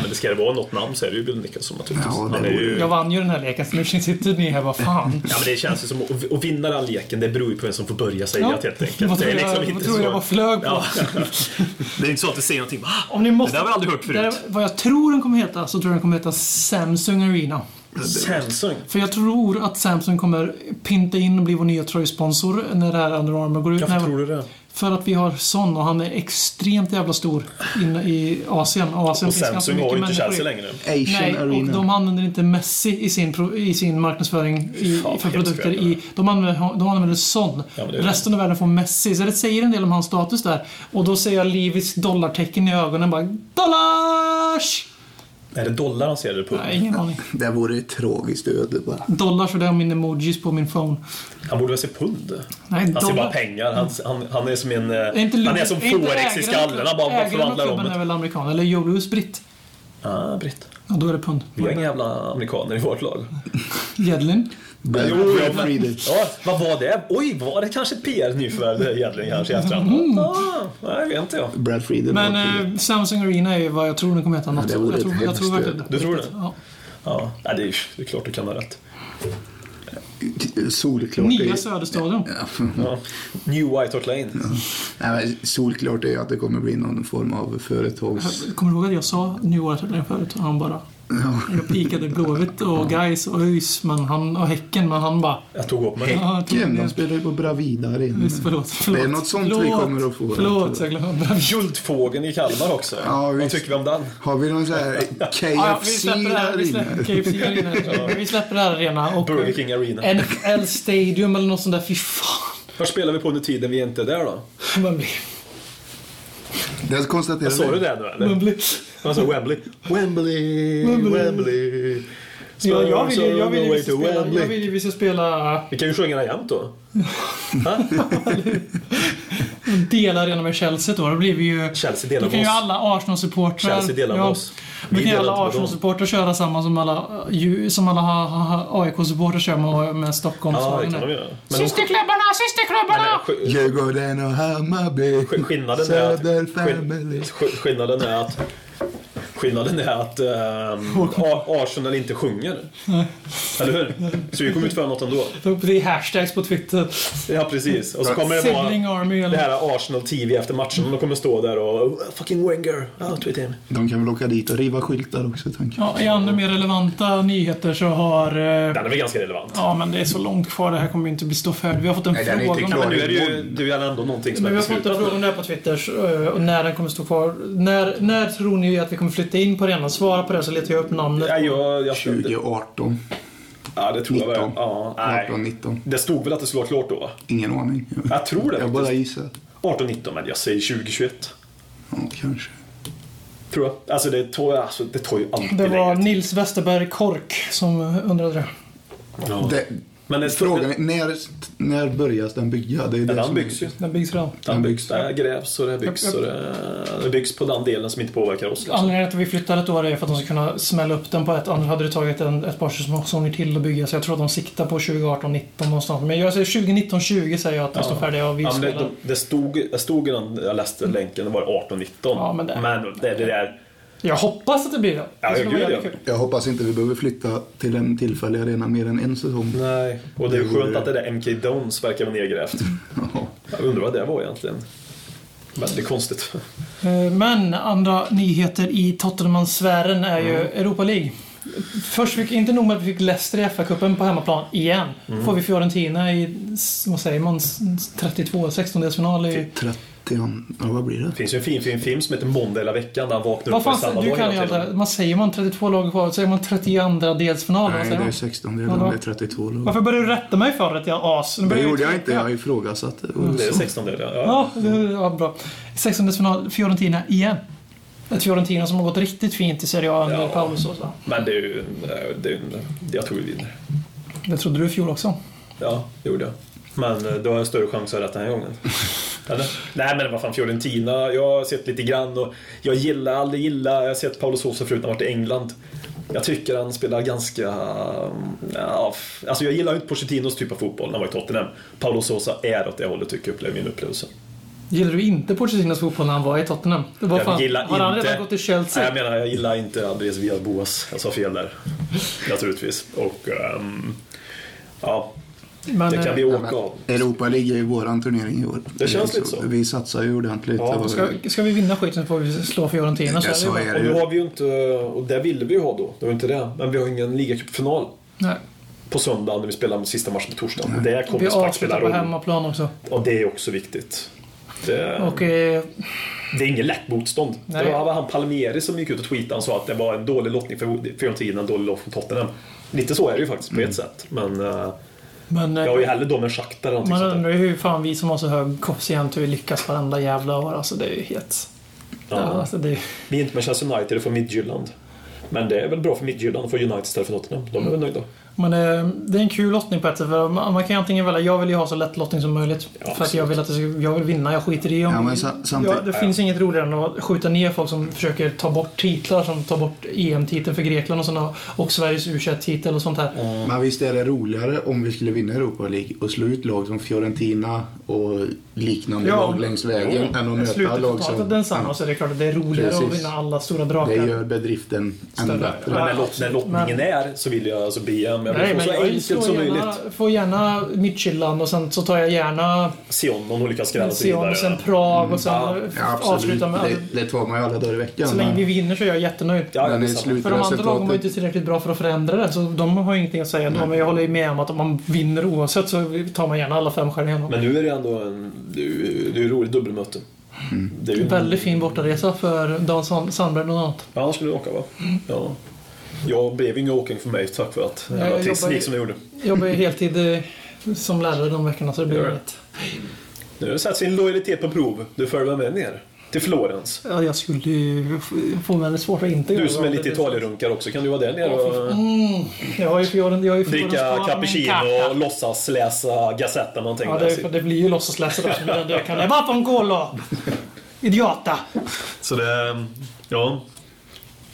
Speaker 3: men det ska det vara något namn så är det ju Bill Nicholson naturligtvis.
Speaker 4: Ja, det
Speaker 3: Han är ju...
Speaker 2: Jag vann ju den här leken så nu sitter ni här, vad fan.
Speaker 3: Ja, men det känns ju som att, att vinna den leken, det beror ju på vem som får börja säga
Speaker 2: Ja.
Speaker 3: det helt enkelt.
Speaker 2: Vad tror
Speaker 3: det är
Speaker 2: jag-
Speaker 3: liksom
Speaker 2: vad
Speaker 3: inte
Speaker 2: tror
Speaker 3: så...
Speaker 2: jag var flög på?
Speaker 3: Ja. Det är inte så att du säger någonting. Ah,
Speaker 2: Om ni måste,
Speaker 3: Det där har vi aldrig hört
Speaker 2: Det
Speaker 3: förut.
Speaker 2: där- vad jag tror den kommer heta så tror jag den kommer heta Samsung Arena.
Speaker 3: Samsung.
Speaker 2: För jag tror att Samsung kommer pynta in och bli vår nya tröjsponsor när det här Under Armour går ut.
Speaker 3: Varför
Speaker 2: Nej,
Speaker 3: tror du det?
Speaker 2: För att vi har Son och han är extremt jävla stor inne i Asien. Och, Asien
Speaker 3: Och
Speaker 2: finns ganska
Speaker 3: Samsung
Speaker 2: mycket
Speaker 3: har ju inte
Speaker 2: människor i.
Speaker 3: Chelsea längre.
Speaker 4: Asian
Speaker 2: Nej, och
Speaker 4: Arena.
Speaker 2: de använder inte Messi i sin, pro- i sin marknadsföring i,
Speaker 3: Fan,
Speaker 2: för
Speaker 3: helt
Speaker 2: produkter.
Speaker 3: skräp, eller?
Speaker 2: I, de, använder, de använder Son.
Speaker 3: Ja, men det är det.
Speaker 2: Resten av världen får Messi. Så det säger en del om hans status där. Och då ser jag Livis dollartecken i ögonen bara Dollars!
Speaker 3: Är det dollar han ser det på?
Speaker 2: Nej, ingen aning.
Speaker 4: Det vore ett tragiskt öde bara.
Speaker 2: Dollars och det är min emojis på min phone.
Speaker 3: Han borde väl se pund?
Speaker 2: Nej,
Speaker 3: Han ser Alltså, bara
Speaker 2: dollar.
Speaker 3: pengar. Han, han, han är som en... eh,
Speaker 2: Är inte
Speaker 3: han är
Speaker 2: Luleå-
Speaker 3: som
Speaker 2: inte
Speaker 3: Forex i
Speaker 2: ägaren-
Speaker 3: skallen. Han bara bara
Speaker 2: ägaren av
Speaker 3: förvandlar
Speaker 2: klubben är
Speaker 3: om.
Speaker 2: väl amerikan, eller Jolus britt.
Speaker 3: Ah, Britt.
Speaker 2: Ja, då är det pund.
Speaker 3: Vi har inga jävla amerikaner i vårt lag.
Speaker 2: Jedlin.
Speaker 4: Brad,
Speaker 3: Jo, ja,
Speaker 4: Brad Friedel.
Speaker 3: Ja, vad var det? Oj, var det kanske ett PR-nyförvärv det egentligen kanske i efterhand?
Speaker 2: Mm.
Speaker 3: Ah, nej, vet inte jag.
Speaker 4: Brad Friedel.
Speaker 2: Men
Speaker 4: var till-
Speaker 2: eh, Samsung Arena är ju vad jag tror den kommer heta. Något.
Speaker 4: det vore
Speaker 2: jag tror,
Speaker 4: ett
Speaker 2: jag tror
Speaker 4: hemskt
Speaker 2: verkligen-
Speaker 3: Du tror det?
Speaker 2: Ja.
Speaker 3: Ja, nej, det, är, ju- det är klart du kan ha rätt.
Speaker 4: Solklart.
Speaker 2: Nya
Speaker 4: är-
Speaker 2: Söderstadion.
Speaker 3: Ja. New White Hart Lane.
Speaker 4: Nej, men solklart är ju att det kommer bli någon form av företags...
Speaker 2: Kommer du ihåg att jag sa New Orleans förut? Och han bara... Jag pikade Blåvitt och Gais och ÖIS men han, och Häcken, men han bara...
Speaker 3: Jag tog upp mig.
Speaker 2: Ja, jag tror
Speaker 4: Jämn,
Speaker 2: det.
Speaker 4: de spelar ju på Bravida Arena.
Speaker 2: Visst, förlåt, förlåt.
Speaker 4: Mm. Det är något sånt vi
Speaker 2: förlåt,
Speaker 4: kommer att få.
Speaker 2: Förlåt, jag glömde.
Speaker 3: Guldfågeln i Kalmar också.
Speaker 4: Ja,
Speaker 3: vad
Speaker 4: visst.
Speaker 3: tycker vi om den?
Speaker 4: Har vi någon sån här
Speaker 2: Ja, vi släpper det här. Vi
Speaker 4: KFC-arena?
Speaker 2: släpper KFC arena. Vi släpper det här arena och eh,
Speaker 3: Burger King Arena.
Speaker 2: NFL Stadium eller något sånt där. Fy fan.
Speaker 3: Vad spelar vi på under tiden vi inte är där då?
Speaker 2: Wembley.
Speaker 4: Jag konstaterar
Speaker 3: Sa du det nu eller?
Speaker 2: Wembley.
Speaker 3: Han sa Wembley. Wembley, Wembley.
Speaker 2: Ja, jag vill ju jag vill ju
Speaker 3: Spurs
Speaker 2: vi
Speaker 3: on
Speaker 2: ska
Speaker 3: the way to
Speaker 2: spela- jag
Speaker 3: Wembley.
Speaker 2: vill ju vi ska spela
Speaker 3: Vi kan ju sjunga den jämt då.
Speaker 2: delar arena med Chelsea då. Då blir vi ju...
Speaker 3: Chelsea
Speaker 2: Då
Speaker 3: delar
Speaker 2: kan ju
Speaker 3: med oss.
Speaker 2: alla Arsenal-supportrar...
Speaker 3: Chelsea delar med oss.
Speaker 2: Då
Speaker 3: Vi
Speaker 2: kan ju
Speaker 3: delar inte
Speaker 2: alla
Speaker 3: med dem.
Speaker 2: Arsenal-supportrar köra samma som alla, eh, ju- som alla ha- ha- ha- AIK-supportrar kör med, med
Speaker 3: Ja, det
Speaker 2: Stockholmsflaggan.
Speaker 3: kan de
Speaker 2: där.
Speaker 3: göra. Men de
Speaker 2: Systerklubbarna!
Speaker 3: sk-
Speaker 4: Djurgården och Hammarby.
Speaker 3: sk- skillnaden är att...
Speaker 4: Söder
Speaker 3: sk-
Speaker 4: family.
Speaker 3: sk- Skillnaden är att... Skillnaden är att ehm, A- Arsenal inte sjunger. Eller hur? Så vi kommer utföra något ändå.
Speaker 2: Ta upp det i hashtags på Twitter.
Speaker 3: Ja, precis. Och så kommer det
Speaker 2: Sibling
Speaker 3: vara
Speaker 2: Army
Speaker 3: det
Speaker 2: eller...
Speaker 3: här Arsenal TV efter matchen. De kommer stå där och... Fucking Wenger! Ja, tweeta in.
Speaker 4: De kan väl åka dit och riva skyltar också, tänker jag.
Speaker 2: Ja, I andra mer relevanta nyheter så har... eh,
Speaker 3: Den är väl ganska relevant.
Speaker 2: Ja, men det är så långt kvar. Det här kommer ju inte bli ståfärdigt. Vi har fått en
Speaker 4: Nej, den är
Speaker 2: fråga
Speaker 4: inte
Speaker 2: om
Speaker 4: klar.
Speaker 2: det.
Speaker 3: Men nu är det ju... Du är ändå någonting som
Speaker 2: Men vi
Speaker 3: är
Speaker 2: har fått en
Speaker 3: beslutat.
Speaker 2: fråga om det här på Twitter så, eh, och när den kommer stå kvar. När, när tror ni att vi kommer flytta in på arenan? Svara på det så letar jag upp namnet.
Speaker 3: Nej, jag... jag
Speaker 4: 2018.
Speaker 3: Ja, det tror jag väl.
Speaker 4: 19.
Speaker 3: Ja, nej.
Speaker 4: 18, 19.
Speaker 3: Det stod väl att det skulle vara klart då?
Speaker 4: Ingen aning.
Speaker 3: Jag tror det
Speaker 4: Jag bara gissar.
Speaker 3: 18-19, men jag säger 2021.
Speaker 4: Ja, kanske.
Speaker 3: Tror jag. Alltså det tar, alltså, det tar ju alltid
Speaker 2: Det var
Speaker 3: längre tid.
Speaker 2: Nils Westerberg Kork som undrade det.
Speaker 3: Ja.
Speaker 4: Det,
Speaker 3: Men det,
Speaker 4: frågan är, när, när börjas den bygga? Det är det
Speaker 3: den,
Speaker 4: som
Speaker 3: den
Speaker 4: är-
Speaker 3: byggs ju.
Speaker 2: Den byggs redan.
Speaker 3: Den byggs. Det grävs och det byggs och det, det byggs på den delen som inte påverkar oss. Liksom.
Speaker 2: Anledningen till att vi flyttade ett år är för att de ska kunna smälla upp den på ett. Annars hade det tagit en, ett par säsonger till att bygga. Så jag tror att de siktar på 2018-19 någonstans. Men jag säger 2019-20 säger jag att de står färdiga och vi
Speaker 3: Ja, men
Speaker 2: spelar.
Speaker 3: det, det stod, det stod i den, jag läste länken, det var 18-19.
Speaker 2: Ja, men det-
Speaker 3: det, det där...
Speaker 2: Jag hoppas att det blir det.
Speaker 3: Ja,
Speaker 2: Det skulle vara
Speaker 3: gud,
Speaker 2: jävligt
Speaker 3: ja.
Speaker 2: kul.
Speaker 4: Jag hoppas inte vi behöver flytta till en tillfällig arena mer än en säsong.
Speaker 3: Nej. Och det är
Speaker 4: Det vore-
Speaker 3: skönt att det där MK Dons verkar vara nedgrävt.
Speaker 4: Ja.
Speaker 3: Jag undrar vad det var egentligen. Väldigt konstigt.
Speaker 2: Eh, Men andra nyheter i Tottenham-sfären är
Speaker 3: Mm.
Speaker 2: ju Europa League. Först fick, inte nog med att vi fick Leicester i FA-cupen på hemmaplan igen.
Speaker 3: Mm.
Speaker 2: Får vi Fiorentina i, s- vad säger man, s- 32, 16-delsfinal i...
Speaker 4: 30, ja vad blir det?
Speaker 3: Det finns ju en fin, fin film som heter Måndag hela veckan där han vaknar
Speaker 2: Vad
Speaker 3: upp på
Speaker 2: fan,
Speaker 3: samma
Speaker 2: du
Speaker 3: dag
Speaker 2: kan
Speaker 3: hela
Speaker 2: ju
Speaker 3: tiden.
Speaker 2: alla, man säger man 32 lag kvar, säger man 32 delsfinal? vad
Speaker 4: Nej, det
Speaker 2: säger
Speaker 4: är
Speaker 2: man?
Speaker 4: 16 det
Speaker 2: Vadå?
Speaker 4: är 32 lag.
Speaker 2: Varför började du rätta mig för att jag är as? Nu
Speaker 4: Det
Speaker 2: börjar
Speaker 4: gjorde jag
Speaker 2: trycka.
Speaker 4: inte, jag ifrågasatte. Och
Speaker 3: Det är
Speaker 4: så.
Speaker 3: 16 delar, ja.
Speaker 2: Ja, det- ja bra. 16-delsfinal, Fiorentina igen. Ett Fiorentina som har gått riktigt fint i Serie A under
Speaker 3: Ja.
Speaker 2: Paulus och så.
Speaker 3: Men det är ju... Det är, ju- jag tror vi vinner.
Speaker 2: Det trodde du i fjol också.
Speaker 3: Ja, det gjorde jag. Men eh, då har jag större chans att ha rätt den här gången. Eller? Nej men vad fan, Fiorentina. Jag har sett lite grann och jag gillar, aldrig gillar, jag har sett Paolo Sosa förut när han varit i England. Jag tycker han spelar ganska... mm, Ja, f- alltså jag gillar ju inte Pochettinos typ av fotboll när han var i Tottenham. Paolo Sosa är åt det hållet tycker jag, upplever min upplevelse.
Speaker 2: Gillade du inte Pochettinos fotboll när han var i Tottenham? Det var
Speaker 3: Jag
Speaker 2: fan,
Speaker 3: gillar
Speaker 2: har han
Speaker 3: inte...
Speaker 2: redan gått till
Speaker 3: Nej,
Speaker 2: Chelsea?
Speaker 3: jag menar, jag gillar inte Andres Villas-Boas. Jag sa fel där. Naturligtvis. Och... ehm, ja,
Speaker 2: men,
Speaker 3: det kan vi
Speaker 2: eh,
Speaker 3: åka av.
Speaker 4: Europa League är ju våran turnering i år.
Speaker 3: Det känns lite så.
Speaker 4: Vi satsar ju ordentligt.
Speaker 3: Ja,
Speaker 4: och-
Speaker 2: ska, ska vi vinna skiten så får vi slå Fiorentina.
Speaker 4: Ja,
Speaker 2: Så
Speaker 4: så
Speaker 2: är det ju bara.
Speaker 3: Och
Speaker 4: är det
Speaker 3: då
Speaker 4: ju.
Speaker 3: har vi ju inte... Och det ville vi ju ha då. Det var inte det. Men vi har ingen ligacupfinal
Speaker 2: Nej.
Speaker 3: på söndag när vi spelar sista matchen på torsdagen. Och Det
Speaker 2: Vi
Speaker 3: kommer såklart spela
Speaker 2: avslutar på
Speaker 3: roll.
Speaker 2: hemmaplan också.
Speaker 3: Och det är också viktigt. Det,
Speaker 2: Och eh,
Speaker 3: det är inget lätt motstånd.
Speaker 2: Nej.
Speaker 3: Det var han Palmieri som gick ut och tweetade och sa att det var en dålig lottning för Fiorentina, en dålig lottning för Tottenham. Lite så är det ju faktiskt på ett sätt. Men eh,
Speaker 2: men, eh,
Speaker 3: jag har ju hellre dem än Shakhtar eller
Speaker 4: Typ
Speaker 3: någonting
Speaker 2: man
Speaker 3: sånt där.
Speaker 2: undrar ju hur fan vi som har så hög koefficient hur vi lyckas varenda jävla år. Alltså det är ju helt...
Speaker 3: Ja.
Speaker 2: Alltså, det är,
Speaker 3: Vi är inte Manchester United, det får Midtjylland. Men det är väl bra för Midtjylland att få United istället för Tottenham. De är väl nöjda.
Speaker 2: men eh, det är en kul lottning på ett sätt. för Man man kan ju antingen välja, jag vill ju ha så lätt lottning som möjligt. för att jag vill, att det ska, jag vill vinna, jag skiter i om...
Speaker 4: Ja, men sa-
Speaker 2: Ja,
Speaker 4: samtidigt,
Speaker 2: det finns inget roligare än att skjuta ner folk som försöker ta bort titlar, som tar bort EM-titeln för Grekland och, såna, och Sveriges u titel och sånt här.
Speaker 4: Men visst är det roligare om vi skulle vinna Europa League och slå ut lag som Fiorentina och liknande
Speaker 2: Ja.
Speaker 4: lag längs vägen än att möta lag
Speaker 2: Slutresultatet är
Speaker 4: som...
Speaker 2: densamma, så är det klart att det är roligare att
Speaker 4: Precis.
Speaker 2: vinna alla stora
Speaker 4: Ja,
Speaker 2: drakar.
Speaker 4: det gör bedriften
Speaker 2: Större.
Speaker 4: än bättre.
Speaker 3: Men när, lott, när lottningen är så vill jag alltså BM. Jag vill
Speaker 2: Nej,
Speaker 3: få
Speaker 2: men
Speaker 3: så
Speaker 2: jag
Speaker 3: enkelt som
Speaker 2: slår gärna,
Speaker 3: möjligt.
Speaker 2: får gärna Midtjylland och sen så tar jag gärna
Speaker 3: Sion, någon olika skrällar och så
Speaker 2: Sion
Speaker 3: vidare.
Speaker 2: och sen Prag och sen
Speaker 3: Ja,
Speaker 4: Ja, absolut.
Speaker 2: avsluta med...
Speaker 4: Det, det tar man ju alla dagar i veckan.
Speaker 2: så länge vi
Speaker 4: men-
Speaker 2: vinner så är jag jättenöjd.
Speaker 3: Ja,
Speaker 4: men i
Speaker 3: detsamma.
Speaker 2: För de andra lagen var ju inte
Speaker 4: slutresultatet...
Speaker 2: tillräckligt bra för att förändra det, så de har ju ingenting att säga då. Men jag håller ju med om att om man vinner oavsett så tar man gärna alla fem stjärnor.
Speaker 3: Men nu är det ändå en... Det är ju- det är ju roligt dubbelmöte. Det är ju
Speaker 2: Väldigt fin bortaresa för Dan San- Sandberg bland annat.
Speaker 3: Ja, han skulle åka va? Ja. Jag blev ju ingen åkning för mig tack för att
Speaker 2: jag
Speaker 3: jag
Speaker 2: jobbar ju-
Speaker 3: teknik som jag gjorde.
Speaker 2: Jag jobbar ju heltid eh, som lärare de veckorna så det
Speaker 3: Gör
Speaker 2: blir
Speaker 3: det.
Speaker 2: inget.
Speaker 3: Nu sätts sin lojalitet på prov. Du följer med ner till Florens.
Speaker 2: Ja, jag skulle ju f- få väldigt svårt att inte göra
Speaker 3: Du som är
Speaker 2: det.
Speaker 3: lite italierunkare också, kan du vara där nere och
Speaker 2: Jag har ju Fioren- jag har ju Fioren
Speaker 3: dricka
Speaker 2: Span-
Speaker 3: cappuccino och låtsas läsa Gazetten någonting?
Speaker 2: Ja,
Speaker 3: där?
Speaker 2: det, det blir ju låtsasläsare som den jag kallar Vapankolo! Idiota!
Speaker 3: Så det, ja.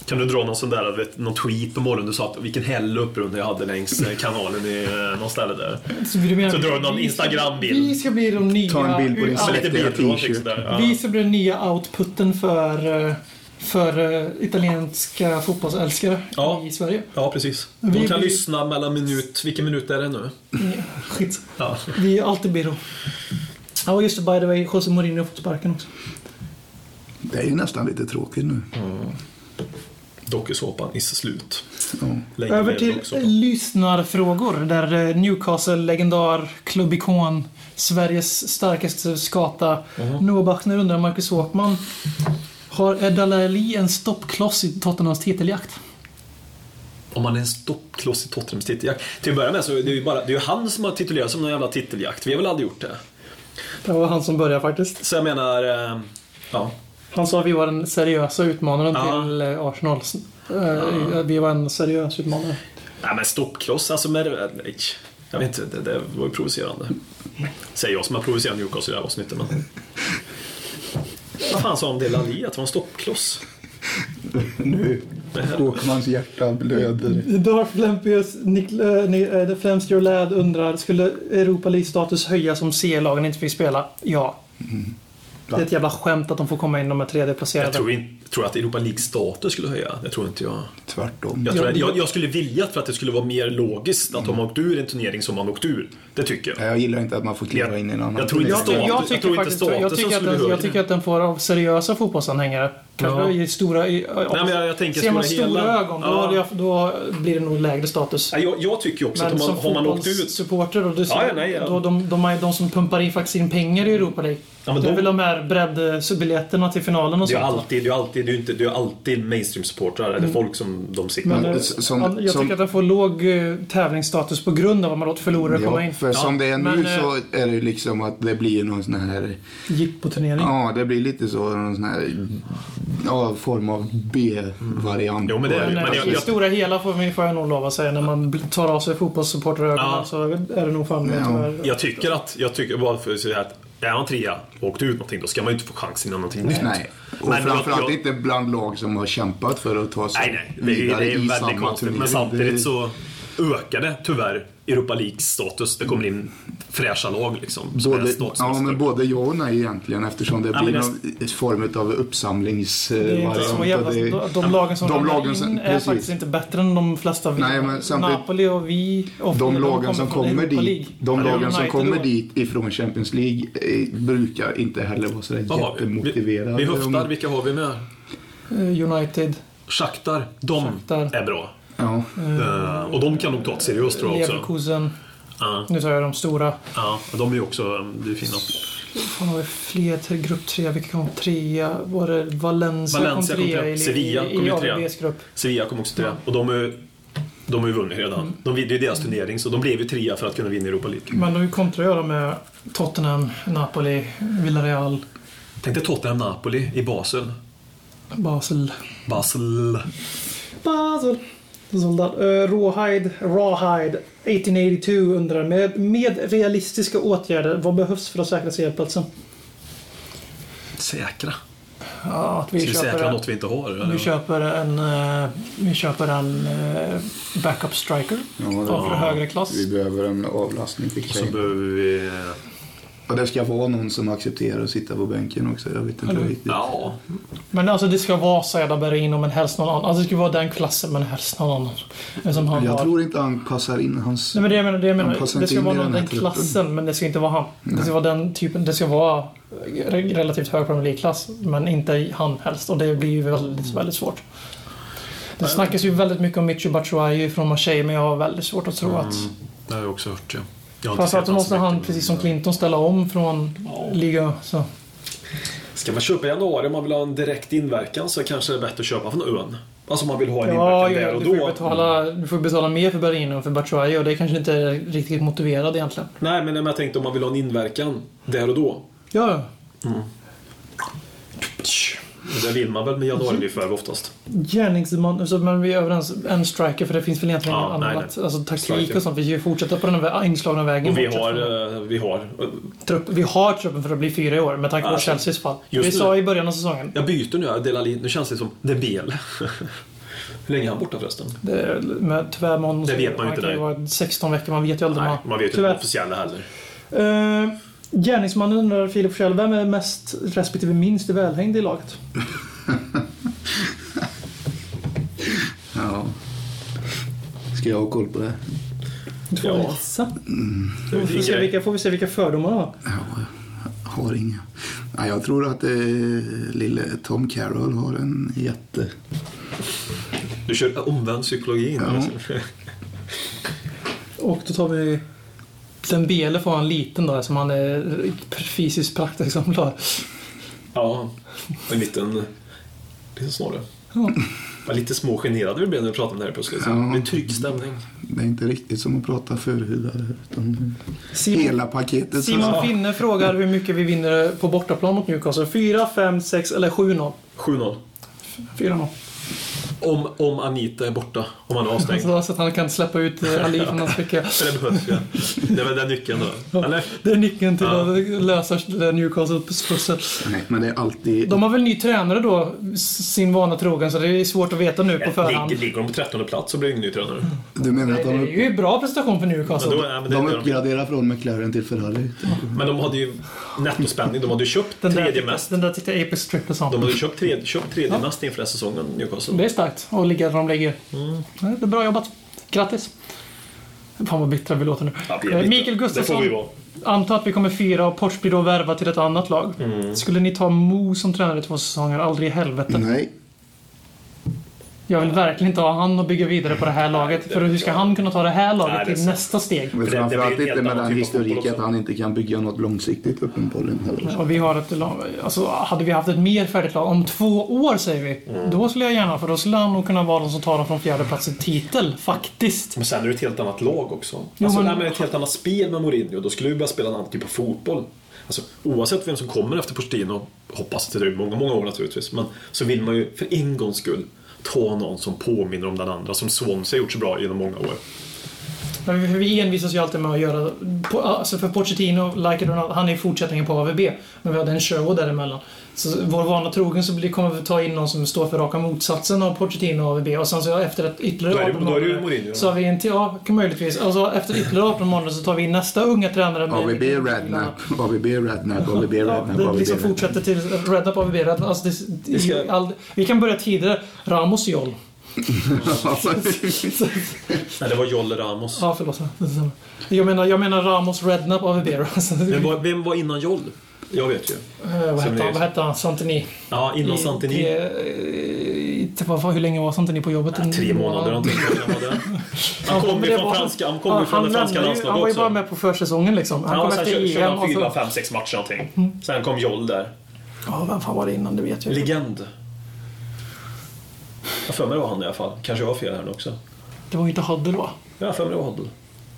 Speaker 3: Kan du dra någon sån där, vet, någon tweet på morgonen du sa att vilken hell upprunda jag hade längs eh, kanalen i eh, någon ställe där.
Speaker 2: Så, du menar,
Speaker 3: Så drar du någon
Speaker 2: vi ska-
Speaker 3: Instagram-bild.
Speaker 2: Vi ska bli de nya...
Speaker 4: Ta en bild på din
Speaker 2: Ja,
Speaker 3: Så lite
Speaker 4: Släckte jag
Speaker 3: bild och någonting
Speaker 4: t-shirt.
Speaker 3: sådär. Ja.
Speaker 2: Vi ska bli den nya outputen för, eh, för eh, italienska fotbollsälskare
Speaker 3: Ja.
Speaker 2: i Sverige.
Speaker 3: ja, precis.
Speaker 2: Vi-
Speaker 3: De kan
Speaker 2: vi-
Speaker 3: lyssna mellan minut, vilken minut är det nu?
Speaker 2: Skit.
Speaker 3: Ja.
Speaker 2: Vi är alltid byrå. Ja, och just det, by the way, José Mourinho har fått sparken också.
Speaker 4: Det är ju nästan lite tråkigt nu.
Speaker 3: Dokusåpan is slut.
Speaker 4: Ja.
Speaker 3: Länge
Speaker 2: Över
Speaker 3: leve
Speaker 2: till
Speaker 3: dokusåpan.
Speaker 2: lyssnarfrågor där eh, Newcastle-legendar, klubbikon, Sveriges starkaste skata, Noah Bachner undrar Marcus Håkman. Har Edda Ali en stoppkloss i Tottenhams titeljakt?
Speaker 3: Om man är en stoppkloss i Tottenhams titeljakt. Till att börja med så är det ju bara, det är ju han som har titulerat som någon jävla titeljakt. Vi har väl aldrig gjort det.
Speaker 2: Det var han som började faktiskt.
Speaker 3: Så jag menar, eh, ja.
Speaker 2: Han sa att vi var den seriösa utmanaren
Speaker 3: Ja.
Speaker 2: till eh, Arsenal. Eh, Vi var en seriös utmanare.
Speaker 3: Nej men stoppkloss, alltså med, nej. Jag vet inte, det, det var ju provocerande. Säger jag som har provocerat Newcastle i det här avsnittet men... Vad fan sa de till Ali att det var en stoppkloss?
Speaker 4: Nu, Håkmans hjärta blöder.
Speaker 2: Darth Flempius, eh, Flems Your Lad undrar, skulle Europa League-status höjas om C-lagen inte fick spela? Ja. Det är ett jävla skämt att de får komma in de här
Speaker 3: Jag
Speaker 2: tredjeplacerade.
Speaker 3: tror, in, tror att Europa League status skulle höja. Det tror inte jag.
Speaker 4: Tvärtom.
Speaker 3: Jag, tror, jag, jag skulle vilja för att det skulle vara mer logiskt att de åkt ur en turnering som man åkt ur. Det tycker jag.
Speaker 4: Nej, Jag gillar inte att man får kliva in i en annan
Speaker 3: Jag tror inte
Speaker 4: turnering.
Speaker 3: staten-
Speaker 2: Jag,
Speaker 3: jag tror
Speaker 2: tycker
Speaker 3: inte
Speaker 2: faktiskt,
Speaker 3: statusen
Speaker 2: jag tycker, att
Speaker 3: skulle
Speaker 2: den,
Speaker 3: höja.
Speaker 2: jag tycker att den får av seriösa fotbollsanhängare. Kanske
Speaker 3: Ja.
Speaker 2: i stora... I,
Speaker 3: men jag- jag tänker
Speaker 2: ser man
Speaker 3: stora
Speaker 2: stora
Speaker 3: hela.
Speaker 2: ögon, då,
Speaker 3: Ja.
Speaker 2: hade jag- då blir det nog lägre status.
Speaker 3: Nej, Jag, jag tycker också
Speaker 2: Eh. Men
Speaker 3: att om
Speaker 2: som
Speaker 3: man, har man åkt ut...
Speaker 2: fotbollssupporter och du
Speaker 3: Ja, ja, nej, ja.
Speaker 2: Då, de, de, de, de som pumpar in faktiskt in pengar i Europa League.
Speaker 3: Ja, men
Speaker 2: det är
Speaker 3: de-
Speaker 2: väl de här breddbiljetterna till finalen och
Speaker 3: Det är ju
Speaker 2: sånt.
Speaker 3: alltid, det är ju alltid, det är ju inte, det är ju alltid mainstream-supportrar, eller folk som de siktar
Speaker 2: Mm. Men,
Speaker 3: på.
Speaker 2: eh,
Speaker 4: s- som-
Speaker 2: jag
Speaker 4: som-
Speaker 2: tycker att den får låg eh, tävlingsstatus på grund av att man låter förlorare komma
Speaker 4: Ja,
Speaker 2: in.
Speaker 4: för som det är nu
Speaker 2: men, eh,
Speaker 4: så är det ju liksom att det blir någon sån här...
Speaker 2: Jippoturnering.
Speaker 4: Ja, det blir lite så. Någon sån här ja, form av B-variant.
Speaker 3: Jo, men det är det ju.
Speaker 2: Men
Speaker 3: Men
Speaker 2: i
Speaker 3: jag-
Speaker 2: det
Speaker 3: jag-
Speaker 2: stora hela får, vi- får jag nog lov att säga, när man bl- tar av sig fotbollssupporterögonen
Speaker 3: Ja.
Speaker 2: så är det nog fan med
Speaker 4: Ja.
Speaker 2: tyvärr.
Speaker 3: Jag tycker att, jag tycker bara för att säga att är man trea och åkt ut någonting, då ska man ju inte få chansen innan någonting nytt.
Speaker 4: Nej. Och
Speaker 3: Men
Speaker 4: framförallt
Speaker 3: jag- jag-
Speaker 4: inte bland lag som har kämpat för att ta sig
Speaker 3: Nej, nej. Det är, det är väldigt konstigt. Men samtidigt så ökar det tyvärr Europa League-status. Det kommer in fräscha lag liksom. Som är
Speaker 4: Både, ja,
Speaker 3: statsmästare.
Speaker 4: men både ja och nej egentligen eftersom det
Speaker 3: Ja, men
Speaker 4: blir någon form av
Speaker 2: Det är inte
Speaker 4: uppsamlingsvariant.
Speaker 2: så
Speaker 4: och
Speaker 2: jävla...
Speaker 4: det-
Speaker 2: de- De lagen som
Speaker 4: de
Speaker 2: ramlar
Speaker 4: lagen
Speaker 2: in
Speaker 4: som-
Speaker 2: är
Speaker 4: precis.
Speaker 2: faktiskt inte bättre än de flesta vi.
Speaker 4: Nej, men samtidigt-
Speaker 2: Napoli och vi... Och
Speaker 4: De
Speaker 2: de
Speaker 4: lagen som
Speaker 2: från
Speaker 4: kommer
Speaker 2: Europa
Speaker 4: dit,
Speaker 2: League.
Speaker 4: de
Speaker 2: Eller
Speaker 4: lagen som
Speaker 2: United
Speaker 4: kommer
Speaker 2: då.
Speaker 4: dit ifrån Champions League eh, brukar inte heller vara sådär
Speaker 3: Vad har vi?
Speaker 4: jättemotiverade.
Speaker 3: Vi, vi höftar.
Speaker 4: Om-
Speaker 3: Vilka har vi med?
Speaker 2: Eh, United,
Speaker 3: Shakhtar. De
Speaker 2: Shakhtar. Mm.
Speaker 3: är bra.
Speaker 4: Ja.
Speaker 3: Eh, och de kan nog ta ett seriöst tror jag också.
Speaker 2: Leverkusen.
Speaker 3: Ja,
Speaker 2: Nu tar jag de stora.
Speaker 3: ja, de är ju också eh, det är fina.
Speaker 2: Fan, har vi fler till grupp tre? Vilka kom trea? Var det Valencia,
Speaker 3: Valencia kom
Speaker 2: kom trea
Speaker 3: trea.
Speaker 2: i,
Speaker 3: Sevilla
Speaker 2: i,
Speaker 3: kom
Speaker 2: i
Speaker 3: ju trea.
Speaker 2: AVBs grupp?
Speaker 3: Sevilla kom också trea. Och de är de har ju vunnit redan.
Speaker 2: Mm.
Speaker 3: De, det är ju deras turnering, så de blev ju trea för att kunna vinna Europa League.
Speaker 2: Men då kontrar jag dem med Tottenham, Napoli, Villarreal,
Speaker 3: Tänk dig Tottenham-Napoli i Basel.
Speaker 2: Basel.
Speaker 3: Basel.
Speaker 2: Basel. Soldat. Uh, rawhide, Rawhide 1882 undrar med, med realistiska åtgärder, vad behövs för att säkra CL-platsen?
Speaker 3: Säkra.
Speaker 2: Ja, att
Speaker 3: Ska vi säkra något vi inte har?
Speaker 2: vi
Speaker 3: Eller?
Speaker 2: köper en, eh, vi köper en eh, backup striker
Speaker 4: Ja, det-
Speaker 2: av högre klass.
Speaker 4: Vi behöver en avlastning för
Speaker 3: Så
Speaker 4: Kane.
Speaker 3: behöver vi... eh,
Speaker 4: Och det ska vara någon som accepterar att sitta på bänken också. Jag vet inte
Speaker 2: Eller-
Speaker 4: riktigt.
Speaker 3: Ja,
Speaker 2: Men alltså det ska vara Saida Bergin och men helst någon annan. Alltså det ska vara den klassen men helst någon annan. Men Som han
Speaker 4: Jag
Speaker 2: har.
Speaker 4: tror inte han passar in hans...
Speaker 2: Nej men det jag menar, det jag menar.
Speaker 4: Han passar
Speaker 2: Det
Speaker 4: inte
Speaker 2: ska
Speaker 4: in
Speaker 2: vara
Speaker 4: i
Speaker 2: någon
Speaker 4: den här
Speaker 2: den
Speaker 4: truppen.
Speaker 2: klassen men det ska inte vara han. Det ska vara den typen. Det ska vara eh, re- relativt hög Premier League-klass men inte han helst. Och det blir ju väldigt, väldigt svårt. Det snackas ju väldigt mycket om Michu Batshuayi från Marseille men jag har väldigt svårt att tro att...
Speaker 3: det har jag också hört. Ja. Jag har inte
Speaker 2: Fast
Speaker 3: sett
Speaker 2: att då
Speaker 3: hans
Speaker 2: måste han,
Speaker 3: mycket,
Speaker 2: precis
Speaker 3: men-
Speaker 2: som Clinton, ställa om från liga. Så.
Speaker 3: Ska man köpa i januari om man vill ha en direkt inverkan så kanske det är bättre att köpa från ön. Alltså om man vill ha en
Speaker 2: Ja,
Speaker 3: inverkan
Speaker 2: ja,
Speaker 3: där och
Speaker 2: du får ju
Speaker 3: då.
Speaker 2: betala, du får ju betala mer för Bergin än för Batshuayi och det kanske inte är riktigt motiverad egentligen.
Speaker 3: Nej, men jag tänkte om man vill ha en inverkan där och då.
Speaker 2: Ja, ja.
Speaker 3: Men Det vill man väl med januariförvärv oftast.
Speaker 2: Gärningsman, alltså, men vi är överens. En striker, för det finns väl egentligen
Speaker 3: Ja,
Speaker 2: inget
Speaker 3: nej,
Speaker 2: annat.
Speaker 3: nej.
Speaker 2: Alltså taktik
Speaker 3: Striker.
Speaker 2: och sånt. Vi ska ju fortsätta på den vä- inslagna vägen.
Speaker 3: Och vi
Speaker 2: Fortsätta.
Speaker 3: har, eh, vi har... eh,
Speaker 2: Trupp, vi har truppen för att bli fyra i år, med tanke på
Speaker 3: Alltså,
Speaker 2: Chelseas fall.
Speaker 3: just
Speaker 2: Vi
Speaker 3: nu-
Speaker 2: sa i början av säsongen.
Speaker 3: Jag byter nu här, Delali. Nu känns det som Debele. Hur länge är han borta förresten?
Speaker 2: Det, med, tyvärr med honom
Speaker 3: Det
Speaker 2: så-
Speaker 3: vet man ju
Speaker 2: han
Speaker 3: inte
Speaker 2: kan ju
Speaker 3: där.
Speaker 2: vara 16 veckor, man vet ju aldrig.
Speaker 3: Nej,
Speaker 2: man-
Speaker 3: man vet ju inte
Speaker 2: tyvärr.
Speaker 3: de officiella heller.
Speaker 2: Eh, gärningsmannen undrar Filip själv, vem är mest respektive minst välhängd i laget?
Speaker 4: Ja. Ska jag ha koll på det?
Speaker 2: Du får
Speaker 3: Ja.
Speaker 2: gissa.
Speaker 3: Det är
Speaker 2: Får vi, se vilka, får vi se vilka fördomar han har.
Speaker 4: Har inga. Nej, jag tror att eh, lille Tom Carroll har en jätte...
Speaker 3: Du kör omvänd psykologi. alltså.
Speaker 4: Ja.
Speaker 3: Ja.
Speaker 2: Och då tar vi... Dembele får han liten då som han är fysiskt praktexemplar.
Speaker 3: ja, en liten, liten snarare.
Speaker 2: Ja.
Speaker 3: Vad lite små generade vi blev när vi pratade om det här plötsligt.
Speaker 4: Ja.
Speaker 3: Det är trygg stämning.
Speaker 4: Det är inte riktigt som att prata förhudare. Utan
Speaker 2: Simon,
Speaker 4: hela paketet.
Speaker 2: Simon Finne frågar hur mycket vi vinner på bortaplan mot Newcastle. 4, 5, 6 eller 7-0?
Speaker 3: 7-0.
Speaker 2: 4-0.
Speaker 3: Om, om Anita är borta, om han är avstängd.
Speaker 2: Så, så att han kan släppa ut eh, Ali från hans ficka.
Speaker 3: För det behövs ju. Det är väl den nyckeln då. Eller?
Speaker 2: Det är nyckeln till
Speaker 3: Ja.
Speaker 2: att lösa Newcastles pussel.
Speaker 4: Nej, men det är alltid...
Speaker 2: De har väl ny tränare då, s- sin vana trogen, så det är svårt att veta nu på förhand.
Speaker 3: Ligger, ligger de på 13 plats så blir det ingen ny tränare.
Speaker 4: Du menar att
Speaker 2: Det är
Speaker 4: de,
Speaker 2: ju en bra prestation för
Speaker 3: Men, då,
Speaker 2: Newcastle.
Speaker 3: nej, men,
Speaker 4: de
Speaker 3: det, de,
Speaker 4: uppgraderar från McLaren till Ferrari?
Speaker 3: men de hade ju nettospänning. De hade ju köpt
Speaker 2: Den där,
Speaker 3: tredje
Speaker 2: tyckte-
Speaker 3: mest.
Speaker 2: den där tyckte Apex Triple
Speaker 3: De
Speaker 2: om.
Speaker 3: hade ju köpt tredje, köpt tredje mest inför den här säsongen, Newcastle.
Speaker 2: Det är starkt att ligga där de ligger.
Speaker 3: Mm.
Speaker 2: Ja, Det är bra jobbat. Grattis. Fan vad bittra vi låter nu.
Speaker 3: Ja, vi är
Speaker 2: Eh,
Speaker 3: lite-
Speaker 2: Mikael
Speaker 3: Det får vi
Speaker 2: Gustafsson.
Speaker 3: vara.
Speaker 2: Anta att vi kommer fyra och Porch blir då värvad till ett annat lag.
Speaker 3: Mm.
Speaker 2: Skulle ni ta Mo som tränare i två säsonger? Aldrig i helvete.
Speaker 4: Nej.
Speaker 2: Jag vill verkligen inte ha han och bygga vidare på det här laget. För hur ska han kunna ta det här laget
Speaker 3: Nej, det är
Speaker 2: till
Speaker 3: sant.
Speaker 2: nästa steg?
Speaker 4: Men
Speaker 3: det- det
Speaker 4: framförallt
Speaker 3: blir en
Speaker 4: inte
Speaker 3: helt
Speaker 4: med
Speaker 3: annan
Speaker 4: den
Speaker 3: typ av fotboll
Speaker 4: historik att
Speaker 3: också.
Speaker 4: han inte kan bygga något långsiktigt uppenbarligen heller.
Speaker 2: Och vi har ett, lag- alltså, hade vi haft ett mer färdigt lag, om två år säger vi,
Speaker 3: Mm.
Speaker 2: då skulle jag gärna, för då skulle han nog kunna vara den som tar dem från fjärde plats i titel, faktiskt.
Speaker 3: Men sen är det ett helt annat lag också.
Speaker 2: Jo,
Speaker 3: alltså,
Speaker 2: men-
Speaker 3: nej, men ett helt annat spel med Mourinho. Då skulle vi börja spela en annan typ av fotboll. Alltså, oavsett vem som kommer efter Pochettino, hoppas att det dröjer många, många år naturligtvis, men så vill man ju för en gångs skull ta någon som påminner om den andra, som Swansea gjort så bra genom många år.
Speaker 2: Men vi, vi envisas ju alltid med att göra... På, alltså för Pochettino, like it or not, han är ju fortsättningen på AVB. Men vi hade en Sherwood däremellan. Så vår vana trogen så blir, kommer vi ta in någon som står för raka motsatsen av Pochettino och AVB. Och sen så efter ett ytterligare
Speaker 3: Då är det-
Speaker 2: 18
Speaker 3: då är det ju
Speaker 2: månader
Speaker 3: Mourinho.
Speaker 2: Så har vi en till, ja möjligtvis. Alltså efter ytterligare 18 månader så tar vi in nästa unga tränare. med-
Speaker 4: ABB Radnap, ABB Radnap, ABB
Speaker 2: Ja,
Speaker 4: Radnap,
Speaker 2: det
Speaker 4: ABB
Speaker 2: liksom
Speaker 4: Radnap.
Speaker 2: fortsätter till Rednap AVB. Rednap, Alltså det, det,
Speaker 3: ska-
Speaker 2: all, vi kan börja tidigare. Ramos Joll.
Speaker 3: Nej, det var Joll Ramos.
Speaker 2: Ja, förlåt. Det är samma. Jag menar, jag menar Ramos Rednap AVB. Alltså,
Speaker 3: Vem var, vem var innan Joll? Jag vet ju.
Speaker 2: Eh, vad, hette han, vad hette han? Santini?
Speaker 3: Ja, innan Santini.
Speaker 2: I- i- i- vad- Hur länge var Santini på jobbet? En
Speaker 3: Ah, Tre månader någonting. Han var där. Han
Speaker 2: Ja, men
Speaker 3: kom ju
Speaker 2: det
Speaker 3: från
Speaker 2: var-
Speaker 3: franska, han
Speaker 2: Ja,
Speaker 3: kom ju från det
Speaker 2: lämnade
Speaker 3: franska
Speaker 2: ju- Han
Speaker 3: landslaget
Speaker 2: var ju bara
Speaker 3: också.
Speaker 2: med på försäsongen liksom. Han
Speaker 3: Ja,
Speaker 2: kom
Speaker 3: och sen
Speaker 2: efter
Speaker 3: körde
Speaker 2: EM
Speaker 3: han
Speaker 2: och
Speaker 3: fyra,
Speaker 2: så... Mm.
Speaker 3: fem, sex matcher någonting. Sen kom Joll där.
Speaker 2: Ja, vem fan var det innan? Det vet jag inte.
Speaker 3: Legend. Jag för mig det var han i alla fall. Kanske jag har fel här nu också.
Speaker 2: Det var ju inte Huddle va?
Speaker 3: Jag har för mig det var Hoddle.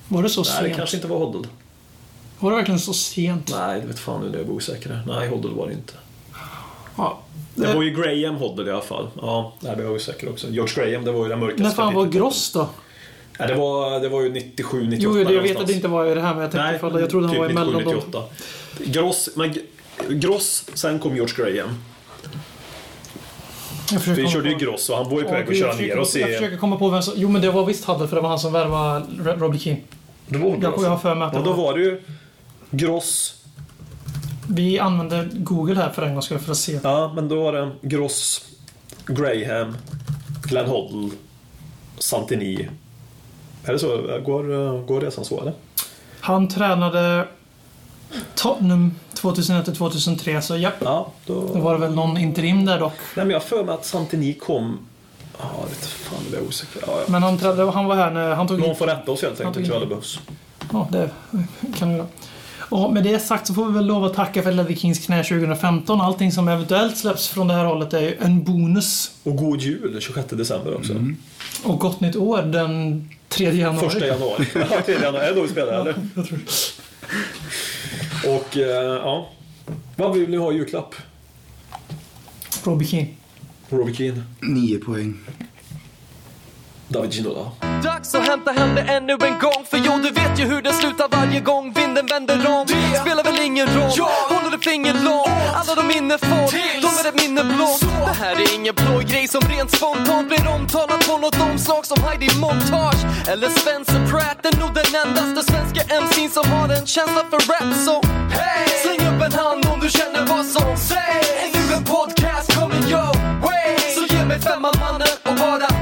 Speaker 2: Var det så
Speaker 3: Nej, det
Speaker 2: sent?
Speaker 3: kanske inte var Hoddle.
Speaker 2: Var det verkligen så sent?
Speaker 3: Nej, det vet fan nu när jag blir osäker. här. Nej, Hoddle var det inte.
Speaker 2: Ja.
Speaker 3: Det var ju Graham Hoddle i alla fall. Ja, där blev jag osäker också. George Graham, det var ju den mörkaste
Speaker 2: När fan var
Speaker 3: kapitlet.
Speaker 2: Gross då?
Speaker 3: Ja, det, var, det var ju 97, 98
Speaker 2: Jo, jag vet
Speaker 3: någonstans.
Speaker 2: att det inte var det här, men jag tänkte ifall jag trodde han
Speaker 3: typ
Speaker 2: var emellan dem.
Speaker 3: 97, 98. Gross, men G- Gross, sen kom George Graham.
Speaker 2: Jag försöker
Speaker 3: Vi
Speaker 2: komma
Speaker 3: körde ju
Speaker 2: på-
Speaker 3: Gross och han var ju på
Speaker 2: Ja,
Speaker 3: väg att
Speaker 2: gud,
Speaker 3: köra
Speaker 2: jag
Speaker 3: ner
Speaker 2: försöker-
Speaker 3: oss
Speaker 2: Jag
Speaker 3: i...
Speaker 2: försöker komma på vem som... Jo, men det var visst Huddle, för det var han som värvade Re- Robbie Keane.
Speaker 3: Det var
Speaker 2: Jag har
Speaker 3: Gross.
Speaker 2: för mig att det
Speaker 3: alltså. Och då
Speaker 2: var...
Speaker 3: var det ju Gross,
Speaker 2: Vi använde Google här för en gång skulle för att se.
Speaker 3: ja men då var det Gross, Graham, Glenn Hoddle, Santini. Är det så? Går, eh, går resan så eller?
Speaker 2: Han tränade Tottenham 2001-2003, så ja.
Speaker 3: Ja,
Speaker 2: Det
Speaker 3: då...
Speaker 2: var det väl någon interim där dock.
Speaker 3: Nej men jag har för mig att Santini kom... Ja, jag vet fan, det är jag osäker. Ja, ja.
Speaker 2: Men han, tränade, han var här när han tog...
Speaker 3: Någon får rätta oss helt enkelt, jag tror jag det behövs.
Speaker 2: Ja, det kan vi göra. Och med det sagt så får vi väl lov att tacka för Ledley Kings knä 2015. Allting som eventuellt släpps från det här hållet är ju en bonus.
Speaker 3: Och god jul 26 december också.
Speaker 2: Och gott nytt år den 3 januari.
Speaker 3: Första januari. Ja, tredje januari. Är det då vi spelar eller?
Speaker 2: Jag tror det.
Speaker 3: Och eh, ja. Vad vill ni ha i julklapp?
Speaker 2: Robbie Keane.
Speaker 3: Robbie Keane.
Speaker 4: Nio poäng.
Speaker 3: David Ginola.
Speaker 5: Dags att hämta hem det ännu en gång För jo, du vet ju hur det slutar varje gång vinden vänder om Det spelar väl ingen roll, håller du finger långt Alla de minne får, de är ett minne blått Det här är ingen blå grej som rent spontant blir omtalat på något omslag som Heidi Montage eller Spencer Pratt är nog den endaste svenska MC'n som har en känsla för rap så hey! Släng upp en hand om du känner vad som sägs Är nu en podcast kommer your way Så ge mig femman mannen och bara